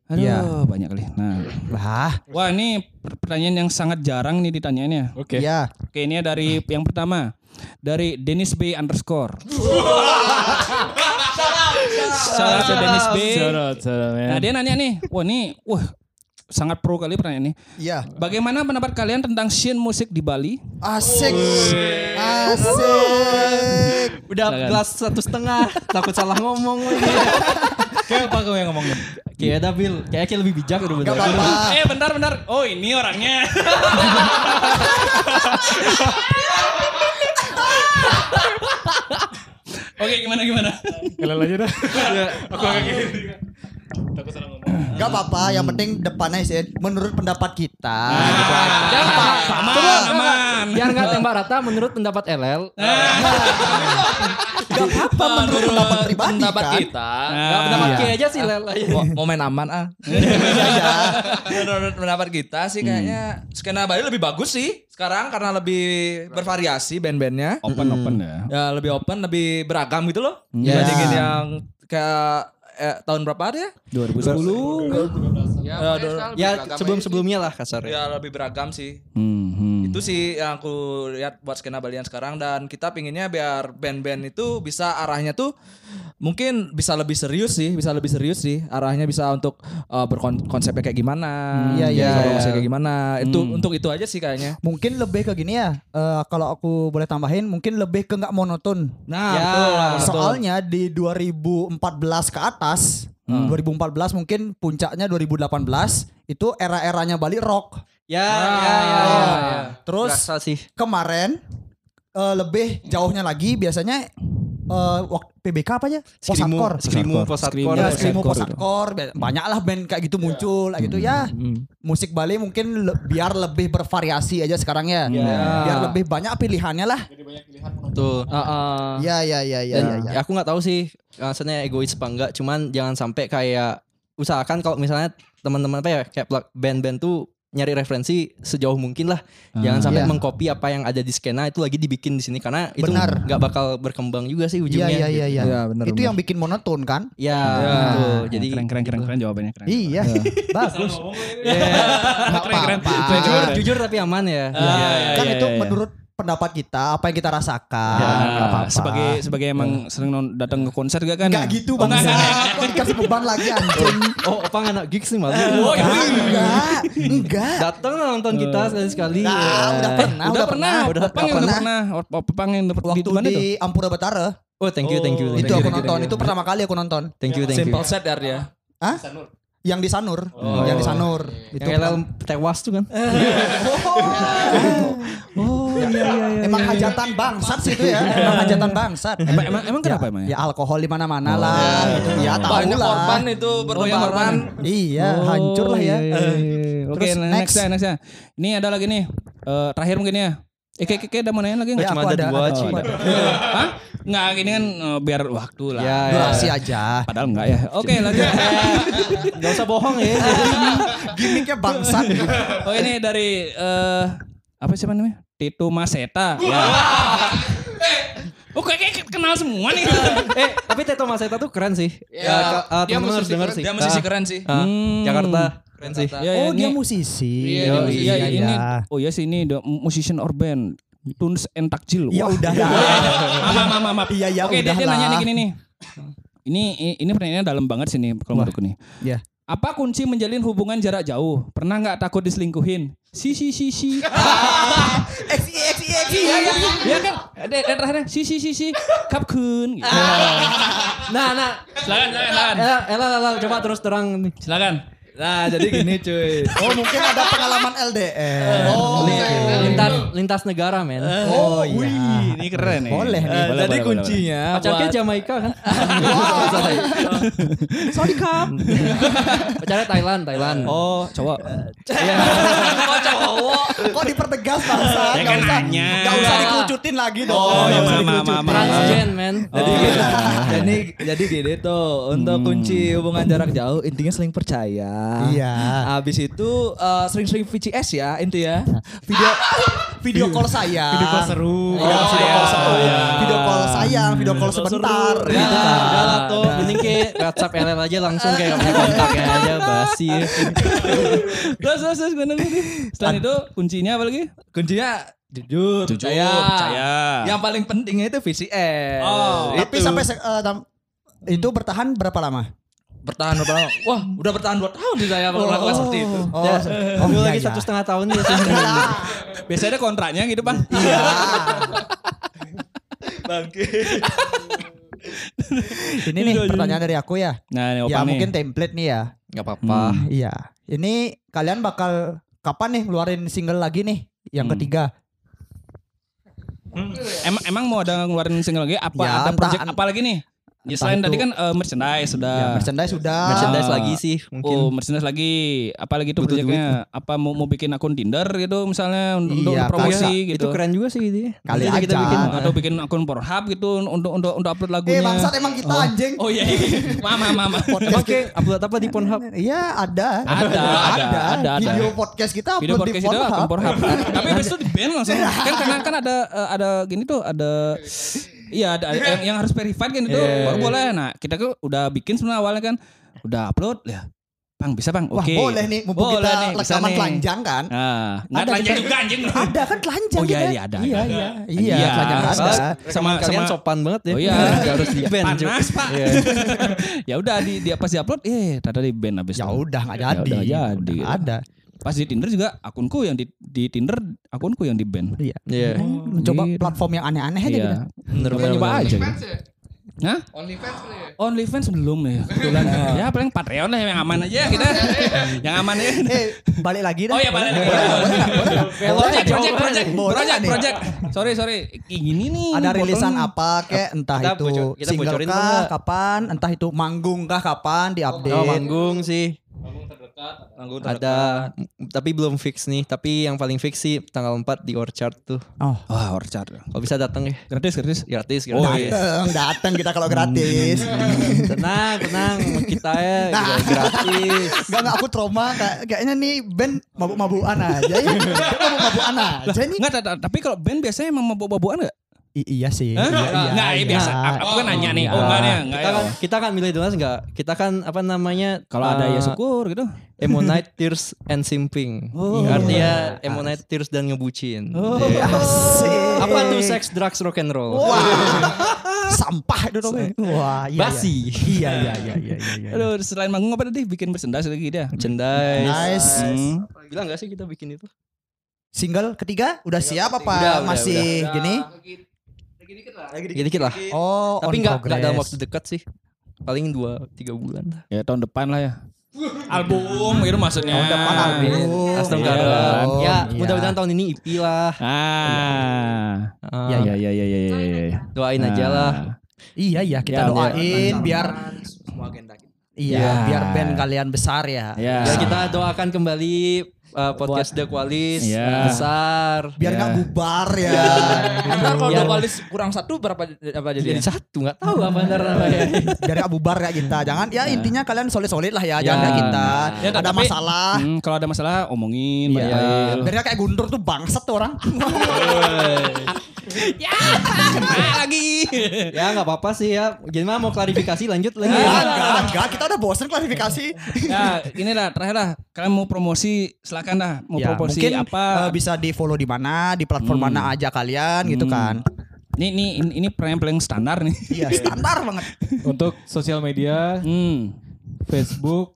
Aduh,
Iya.
banyak kali. Nah,
Wah,
wah ini per- pertanyaan yang sangat jarang nih ditanyainnya.
Oke.
iya.
Oke, ini dari yang pertama dari Dennis B underscore. Salam, salam, Dennis B.
Sorot, sorot, ya.
Nah, dia nanya nih, wah ini, wah sangat pro kali pertanyaan ini.
Iya.
Bagaimana pendapat kalian tentang scene musik di Bali?
Asik. Asik.
Udah
Silakan.
gelas satu setengah, takut salah ngomong lagi.
Kayak apa kamu yang ngomongin?
Kayak ada Bill, kayaknya lebih bijak udah
Gak
bener.
apa-apa.
Eh bentar bentar. Oh ini orangnya. Oke gimana gimana.
Kalian aja dah. Aku agak gini. Takut salah ngomong.
Gak apa-apa. Yang penting depannya sih. Menurut pendapat kita. gitu aja.
Aman aman.
Biar nggak tembak rata menurut pendapat
*laughs*
LL.
Gak apa-apa menurut pendapat pribadi
pendapat
kan.
kita
Nggak Ya, pendapat Ki aja sih LL aja.
Mo- momen aman
*laughs*
ah.
Iya,
Menurut pendapat kita sih
Hmm.
kayaknya skena Bali lebih bagus sih sekarang karena lebih bervariasi
Oh.
band-bandnya.
Open open ya.
Ya lebih open, lebih beragam gitu loh.
Hmm.
Ya.
Iya.
Dibandingin yang kayak eh, tahun berapa ada ya?
2010.
ya,
Iya,
Ya sebelum-sebelumnya lah kasar.
Ya lebih beragam sih.
Hmm, hmm.
Itu sih yang aku lihat buat skena Balian sekarang dan kita pinginnya biar band-band itu Iya, bisa arahnya tuh mungkin bisa lebih serius sih, bisa lebih serius sih. Arahnya bisa untuk uh, berkonsepnya kayak gimana.
Hmm,
iya,
bisa
iya, iya.
berkonsepnya kayak gimana. Itu untuk itu aja sih kayaknya.
Mungkin lebih ke gini ya. eh, kalau aku boleh tambahin. Mungkin lebih ke gak monoton.
Nah,
Ya,
betul. lah, betul.
Soalnya di 2014 ke atas. 2014 mungkin puncaknya 2018 itu era-eranya Bali rock.
Ya,
Ah.
ya, ya, ya, ya.
Terus
Berasa sih.
kemarin eh, lebih jauhnya lagi biasanya eh, wak- PBK apa aja? Post
Skrimu,
hardcore.
skrimu, post hardcore.
Ya,
Post
skrimu
hardcore
post
itu.
hardcore Ba- banyaklah band kayak gitu muncul kayak gitu ya. Musik Bali mungkin le- biar lebih bervariasi aja sekarang ya. Biar lebih banyak pilihannya lah.
Betul.
Ya ya ya ya.
Dan
ya, ya.
ya aku nggak tahu sih maksudnya egois apa enggak cuman jangan sampai kayak usahakan kalau misalnya teman-teman apa ya kayak plug- band-band tuh nyari referensi sejauh mungkin lah jangan sampai
Iya.
mengcopy apa yang ada di skena itu lagi dibikin di sini karena itu
Benar.
nggak bakal berkembang juga sih
Iya
ujungnya gitu.
iya iya. iya.
Ya, benar,
itu yang bikin monoton kan?
ya, betul. jadi
Iya, keren keren keren keren jawabannya keren.
Iya. Bagus. Nggak apa-apa.
Iya, jujur jujur tapi aman ya
Kan itu menurut pendapat kita apa yang kita rasakan.
Ah,
Ya, nggak apa-apa.
sebagai sebagai emang sering non- datang ke konser gak kan?
Enggak gitu bang. Kok dikasih beban lagi anjing.
oh apa anak gigs nih malu
Enggak. Enggak.
datang lah nonton kita sekali sekali
Ah, udah pernah,
Udah, pernah, Opang
udah
yang udah
pernah.
pernah, Opang yang udah pernah
Waktu di, Ampura Betara
oh thank you thank you thank you,
itu aku
thank you,
nonton, itu pertama kali aku nonton.
thank you thank you
Simple set dari ya.
Hah? Yang di Sanur, yang di Sanur. Itu
yang *laughs* LL tewas tuh kan
emang hajatan bangsat sih itu ya, emang hajatan bangsat.
Emang emang, emang kenapa emang?
Ya alkohol di mana-mana lah, gitu. ya tahu
Banyak
lah.
korban
Oh,
itu bertebaran.
Iya,
Oh,
hancur lah ya.
iya, Oke,
Terus
next.
next.
next ya, next ya. Ini ada lagi nih. Eh terakhir mungkin ya. Eh, kayak kayak ada mau nanya lagi
Ya,
enggak?
cuma
aku
ada
ada,
dua,
ada,
cuy.
ada.
Hah? Enggak, ini kan eh, biar waktu lah.
ya ya
Durasi aja.
Padahal enggak ya. Oke, lanjut.
*laughs*
Gak usah bohong ya.
Gimiknya bangsat.
Oke, ini Oh, dari eh apa siapa namanya? Tito Maseta. Ya. Oke, Oh, kayak kenal semua nih.
eh tapi Teto Maseta tuh keren sih.
Ya,
Ya, ka- ah,
dia
teman-teman
musisi
harus denger
keren.
sih.
Iya. Dia musisi
Ah,
keren sih.
ah, Jakarta keren sih.
Jakarta.
Hmm. Ya, ya,
oh dia
ini-
musisi.
Iya,
Iya, dia
iya,
musisi,
ini.
iya.
Oh ya sih ini the musician or band. Tunes and Takjil.
Ya
Wah.
udah.
Maaf, maaf, maaf, maaf.
Iya ya
Oke, dia,
udah
dia nanya nih
lah.
gini nih. Ini i- ini pertanyaannya dalam banget sih nih kalau menurutku nih.
iya.
Apa kunci menjalin hubungan jarak jauh? Pernah nggak takut diselingkuhin? Si si si si.
Eksi eksi eksi.
Iya kan? Iya kan? Dan dan terakhirnya si si si si. Kapkun. Gitu.
Iya. Nah, nah,
Silakan, silakan, silakan.
elah, elah, elah, coba terus terang nih.
Silakan. Nah, jadi gini cuy.
Oh mungkin ada pengalaman LDR. Oh,
iya. Lintas, lintas negara men.
oh iya.
Ini keren nih.
Boleh nih.
Eh, jadi kuncinya
Ya, Pacarnya
buat-
Jamaika
*laughs*
kan? Sorry kak. Pacarnya Thailand, Thailand.
Eh.
Oh,
*laughs*
cowok.
Oh, Kok dipertegas bangsa?
Ya
Gak
kan
usah.
nanya.
Gak usah dikucutin lagi dong.
Oh, ya mama
Iya.
mama.
Transgen men.
Jadi, jadi, jadi gini tuh untuk kunci hubungan jarak jauh intinya sering percaya.
Iya.
Abis itu eh, sering-sering VCS ya inti ya.
Video video call saya. Video call seru. Video
iya,
call seru.
iya.
Video call sayang, video call sebentar.
Iya,
Iya.
Ya, udah lah tuh.
Mending kayak WhatsApp LL aja langsung kayak punya kontaknya aja basi.
Terus terus terus bener nih. Setelah itu kuncinya apa lagi?
Kuncinya jujur, percaya.
percaya.
Yang paling pentingnya itu VCS.
Oh,
Tapi sampai se- eh, tam- itu bertahan berapa lama?
bertahan berapa lama? Wah, udah bertahan 2 tahun sih saya melakukan seperti itu.
Oh, oh,
Dulu
iya,
lagi
iya.
satu setengah tahun
*laughs*
ya sih.
Biasanya ada kontraknya gitu, Bang.
Iya. Ini nih pertanyaan dari aku ya.
Nah, ini
ya
opang nih. Hmm.
mungkin template nih ya.
Gak apa-apa.
Iya. Ini kalian bakal kapan nih ngeluarin single lagi nih? Yang
Hmm.
ketiga.
Emang emang mau ada ngeluarin single lagi apa
Ya,
ada
entah-
project apa lagi nih? Ya,
entah
selain
itu.
tadi kan eh, merchandise sudah.
Ya, merchandise sudah.
Merchandise lagi sih
Oh,
mungkin.
merchandise lagi. Apa lagi tuh
Butuh
projectnya? Apa mau mau bikin akun Tinder gitu misalnya un- untuk
Iya,
promosi
kagak.
gitu.
Itu keren juga sih dia.
Kali
Nanti
aja.
bikin.
Atau bikin akun Pornhub gitu untuk untuk untuk upload
Eh
lagunya.
bangsat emang kita anjing.
Oh iya, iya. mama mama.
Emang kayak upload apa di Pornhub?
Iya ada.
Ada, ada, ada, ada.
Video podcast kita
Video
upload
podcast
di
itu akun
Pornhub.
Pornhub. kan? Tapi habis itu di ban langsung. Kan karena kan ada eh, ada gini tuh ada Iya ada ada yang, yang harus verified kan itu baru boleh. Nah kita tuh udah bikin sebenarnya awalnya kan udah upload ya. Bang bisa bang,
Wah
oke.
boleh nih, mumpung
Boleh
kita
nih, bisa
rekaman
nih.
telanjang kan.
Nah, nggak
Ada
telanjang
kita-
juga anjing.
Ada kan telanjang
Oh iya,
kita.
iya, ada,
Iya
ada.
iya. Iya
Iya.
telanjang ada.
Sama
Sama-
kalian
sama-
sopan banget ya.
Oh iya,
Nggak harus di band.
panas
Iya.
pak. *laughs* ya udah di, di pas di upload, eh tadi di band habis.
Ya
itu.
udah nggak
Ya
jadi.
udah, gitu. jadi.
Nggak Ada.
Pas di Tinder juga akunku yang di, di Tinder akunku yang di band.
Iya.
gitu.
Coba Hmm, platform yang aneh-aneh aja gitu. kita.
Iya.
Bener
Coba coba aja. gitu.
Fans ya?
Hah?
*laughs* OnlyFans kali ya?
OnlyFans belum ya.
*laughs*
Kebetulan. ya paling Patreon lah yang aman aja kita. yang aman ya.
Eh balik lagi dah.
Oh iya balik lagi.
Boleh, boleh, boleh.
*laughs* Project, project,
Boleh.
project,
Boleh
project,
nih.
project. Sorry, sorry. Kayak gini nih.
ada
potong.
rilisan apa kek entah
Kita
itu
bocor- kita
single
bocorin apa
kah
nggak?
kapan entah itu manggung kah kapan diupdate
Oh manggung sih.
Manggung
Ada m- tapi belum fix nih. Tapi yang paling fix sih tanggal 4 di Orchard tuh.
Oh.
Wah, orchard.
Kalau bisa datang ya.
Gratis, gratis.
Gratis, gratis.
Oh, iya.
dateng dateng kita kalau gratis
tenang, tenang. Kita ya
Nah.
juga gratis.
Enggak enggak aku trauma kayak, kayaknya nih band mabuk-mabukan aja ya. Dia mabuk-mabukan aja nih.
Enggak, ta- ta- tapi kalau band biasanya emang mabok-mabokan enggak?
I- iya sih.
Hah?
Iya, iya,
Enggak, ya
iya.
biasa. Aku- Aku kan nanya nih. *laughs* Oh, enggak nih,
Kita
enggak ya.
kan, kita kan milih Donas enggak? Kita kan apa namanya?
Kalau ada
eh,
ya syukur gitu.
Emonite, Tears and Simping.
Oh.
Artinya Emonite, Tears dan ngebucin.
Oh.
Iya.
Asik.
Apa tuh sex, drugs, rock and roll?
Wah. *laughs* Sampah itu dong. Wah, iya.
Basi.
Iya, iya, iya, iya, iya. iya. Hmm.
Aduh, selain manggung apa tadi? Bikin merchandise lagi dia.
Cendai.
Nice.
Hmm.
Bilang gak sih kita bikin itu?
Single ketiga udah siap apa
Udah, udah,
masih gini?
Dikit, dikit lah.
Oh,
Tapi nggak
on
nggak
progress.
dalam waktu dekat sih. Paling 2-3 bulan lah.
Ya tahun depan lah ya. Album gitu maksudnya.
Tahun depan album.
Custom
iya.
Garden. Ya,
Oh, Iya.
mudah-mudahan tahun ini IP lah.
Ah.
Ah,
Ya ya ya ya ya ya ya.
Doain aja
Nah.
lah.
Iya, iya, kita
Ya,
doain biar
semua agenda kita.
iya,
Ya.
biar band kalian besar ya.
Ya.
Ya kita doakan kembali eh, podcast The Qualis
Iya.
besar.
biar nggak bubar ya.
Entar kalau
Iya.
dua kali kurang satu berapa apa
Jadi
jadinya?
satu nggak tahu apa ntar namanya.
biar nggak bubar ya kita. Jangan ya intinya kalian solid-solid lah ya, jangan kayak kita.
Ya,
Ada
tapi-
masalah.
Hmm, kalau ada masalah omongin.
Iya.
baik-baik.
Biar nggak kayak guntur tuh bangsat tuh orang.
Ah, lagi.
*laughs* ya nggak apa-apa sih ya. Gimana mau klarifikasi lanjut lanjut.
Ya, enggak, enggak, kita udah bosen klarifikasi.
Ya, ini lah terakhir lah. Kalian mau promosi silakan lah. Mau
Ya,
promosi
mungkin eh,
apa? Hmm.
bisa di follow di mana, di platform mana aja kalian gitu kan.
Ini ini ini, ini pertanyaan paling standar nih.
Iya, standar banget.
Untuk sosial media,
Hmm.
Facebook,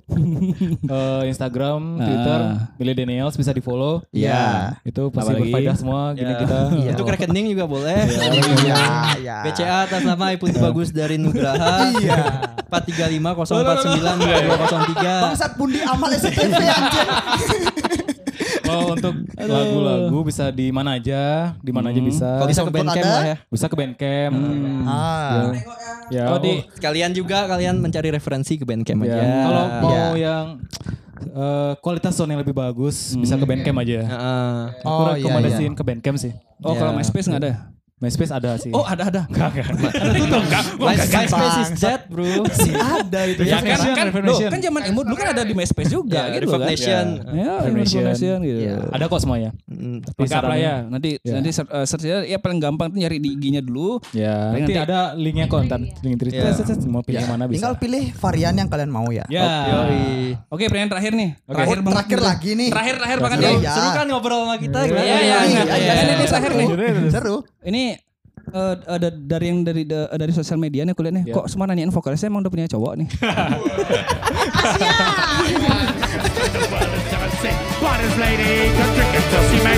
eh, Instagram, Twitter, Millennials bisa di follow.
Iya.
Itu pasti
Apalagi?
berfaedah semua
Iya.
gini kita.
Untuk rekening juga boleh.
Oh,
Iya, iya.
BCA atas nama Ipun Bagus dari Nugraha. Iya. 435049203.
Bangsat pundi amal SCTV anjir.
Kalau untuk lagu-lagu bisa di mana aja, di mana aja bisa.
Kalau bisa ke
Soundcloud
Bandcamp
ada.
lah ya.
Bisa ke Bandcamp.
Iya.
Ah.
Ya.
Kalau di Iya. kalian juga kalian mencari referensi ke Bandcamp
Ya,
Iya.
aja.
Kalau mau
Ya.
yang eh, kualitas sound yang lebih bagus bisa ke Bandcamp aja.
Heeh.
Aku
Oh, iya,
rekomendasiin ke Bandcamp sih.
Ya.
Oh, kalau MySpace nggak ada.
MySpace ada
Iya.
sih.
Oh, *laughs* ada ada.
My- MySpace is
Bangsat.
dead,
*laughs*
bro.
Masih ada itu
Ya,
Kan kan
ya.
loh,
Reformation.
kan zaman emo dulu kan ada di MySpace juga
Ya,
gitu kan.
Reformation.
Ya,
Reformation.
Reformation gitu.
Ya.
Ada kok semuanya.
Mm.
Di
Lengkap lah
sarannya.
ya. Nanti
Ya.
nanti ser- eh, search aja. ya paling gampang tuh nyari di IG-nya dulu.
Ya,
Tapi
nanti,
nanti-
ada linknya kok ntar link Twitter.
Ya.
Set, set, set, Mau pilih mana bisa.
Tinggal pilih varian yang kalian mau ya.
ya.
Yoi.
Oke, pertanyaan terakhir nih.
Oh,
Terakhir banget.
terakhir lagi nih.
Terakhir terakhir banget
Iya,
ya.
iya.
Seru kan ngobrol sama kita gimana?
Iya, iya,
Iya,
iya,
iya,
iya. Ini
iya.
terakhir nih.
Seru.
Ini eh, ada dari yang dari da- dari sosial media nih kuliahnya.
Ya.
Kok semua nanyain vokalisnya emang udah punya cowok nih?
Asia.
What is lady? Don't drink until she makes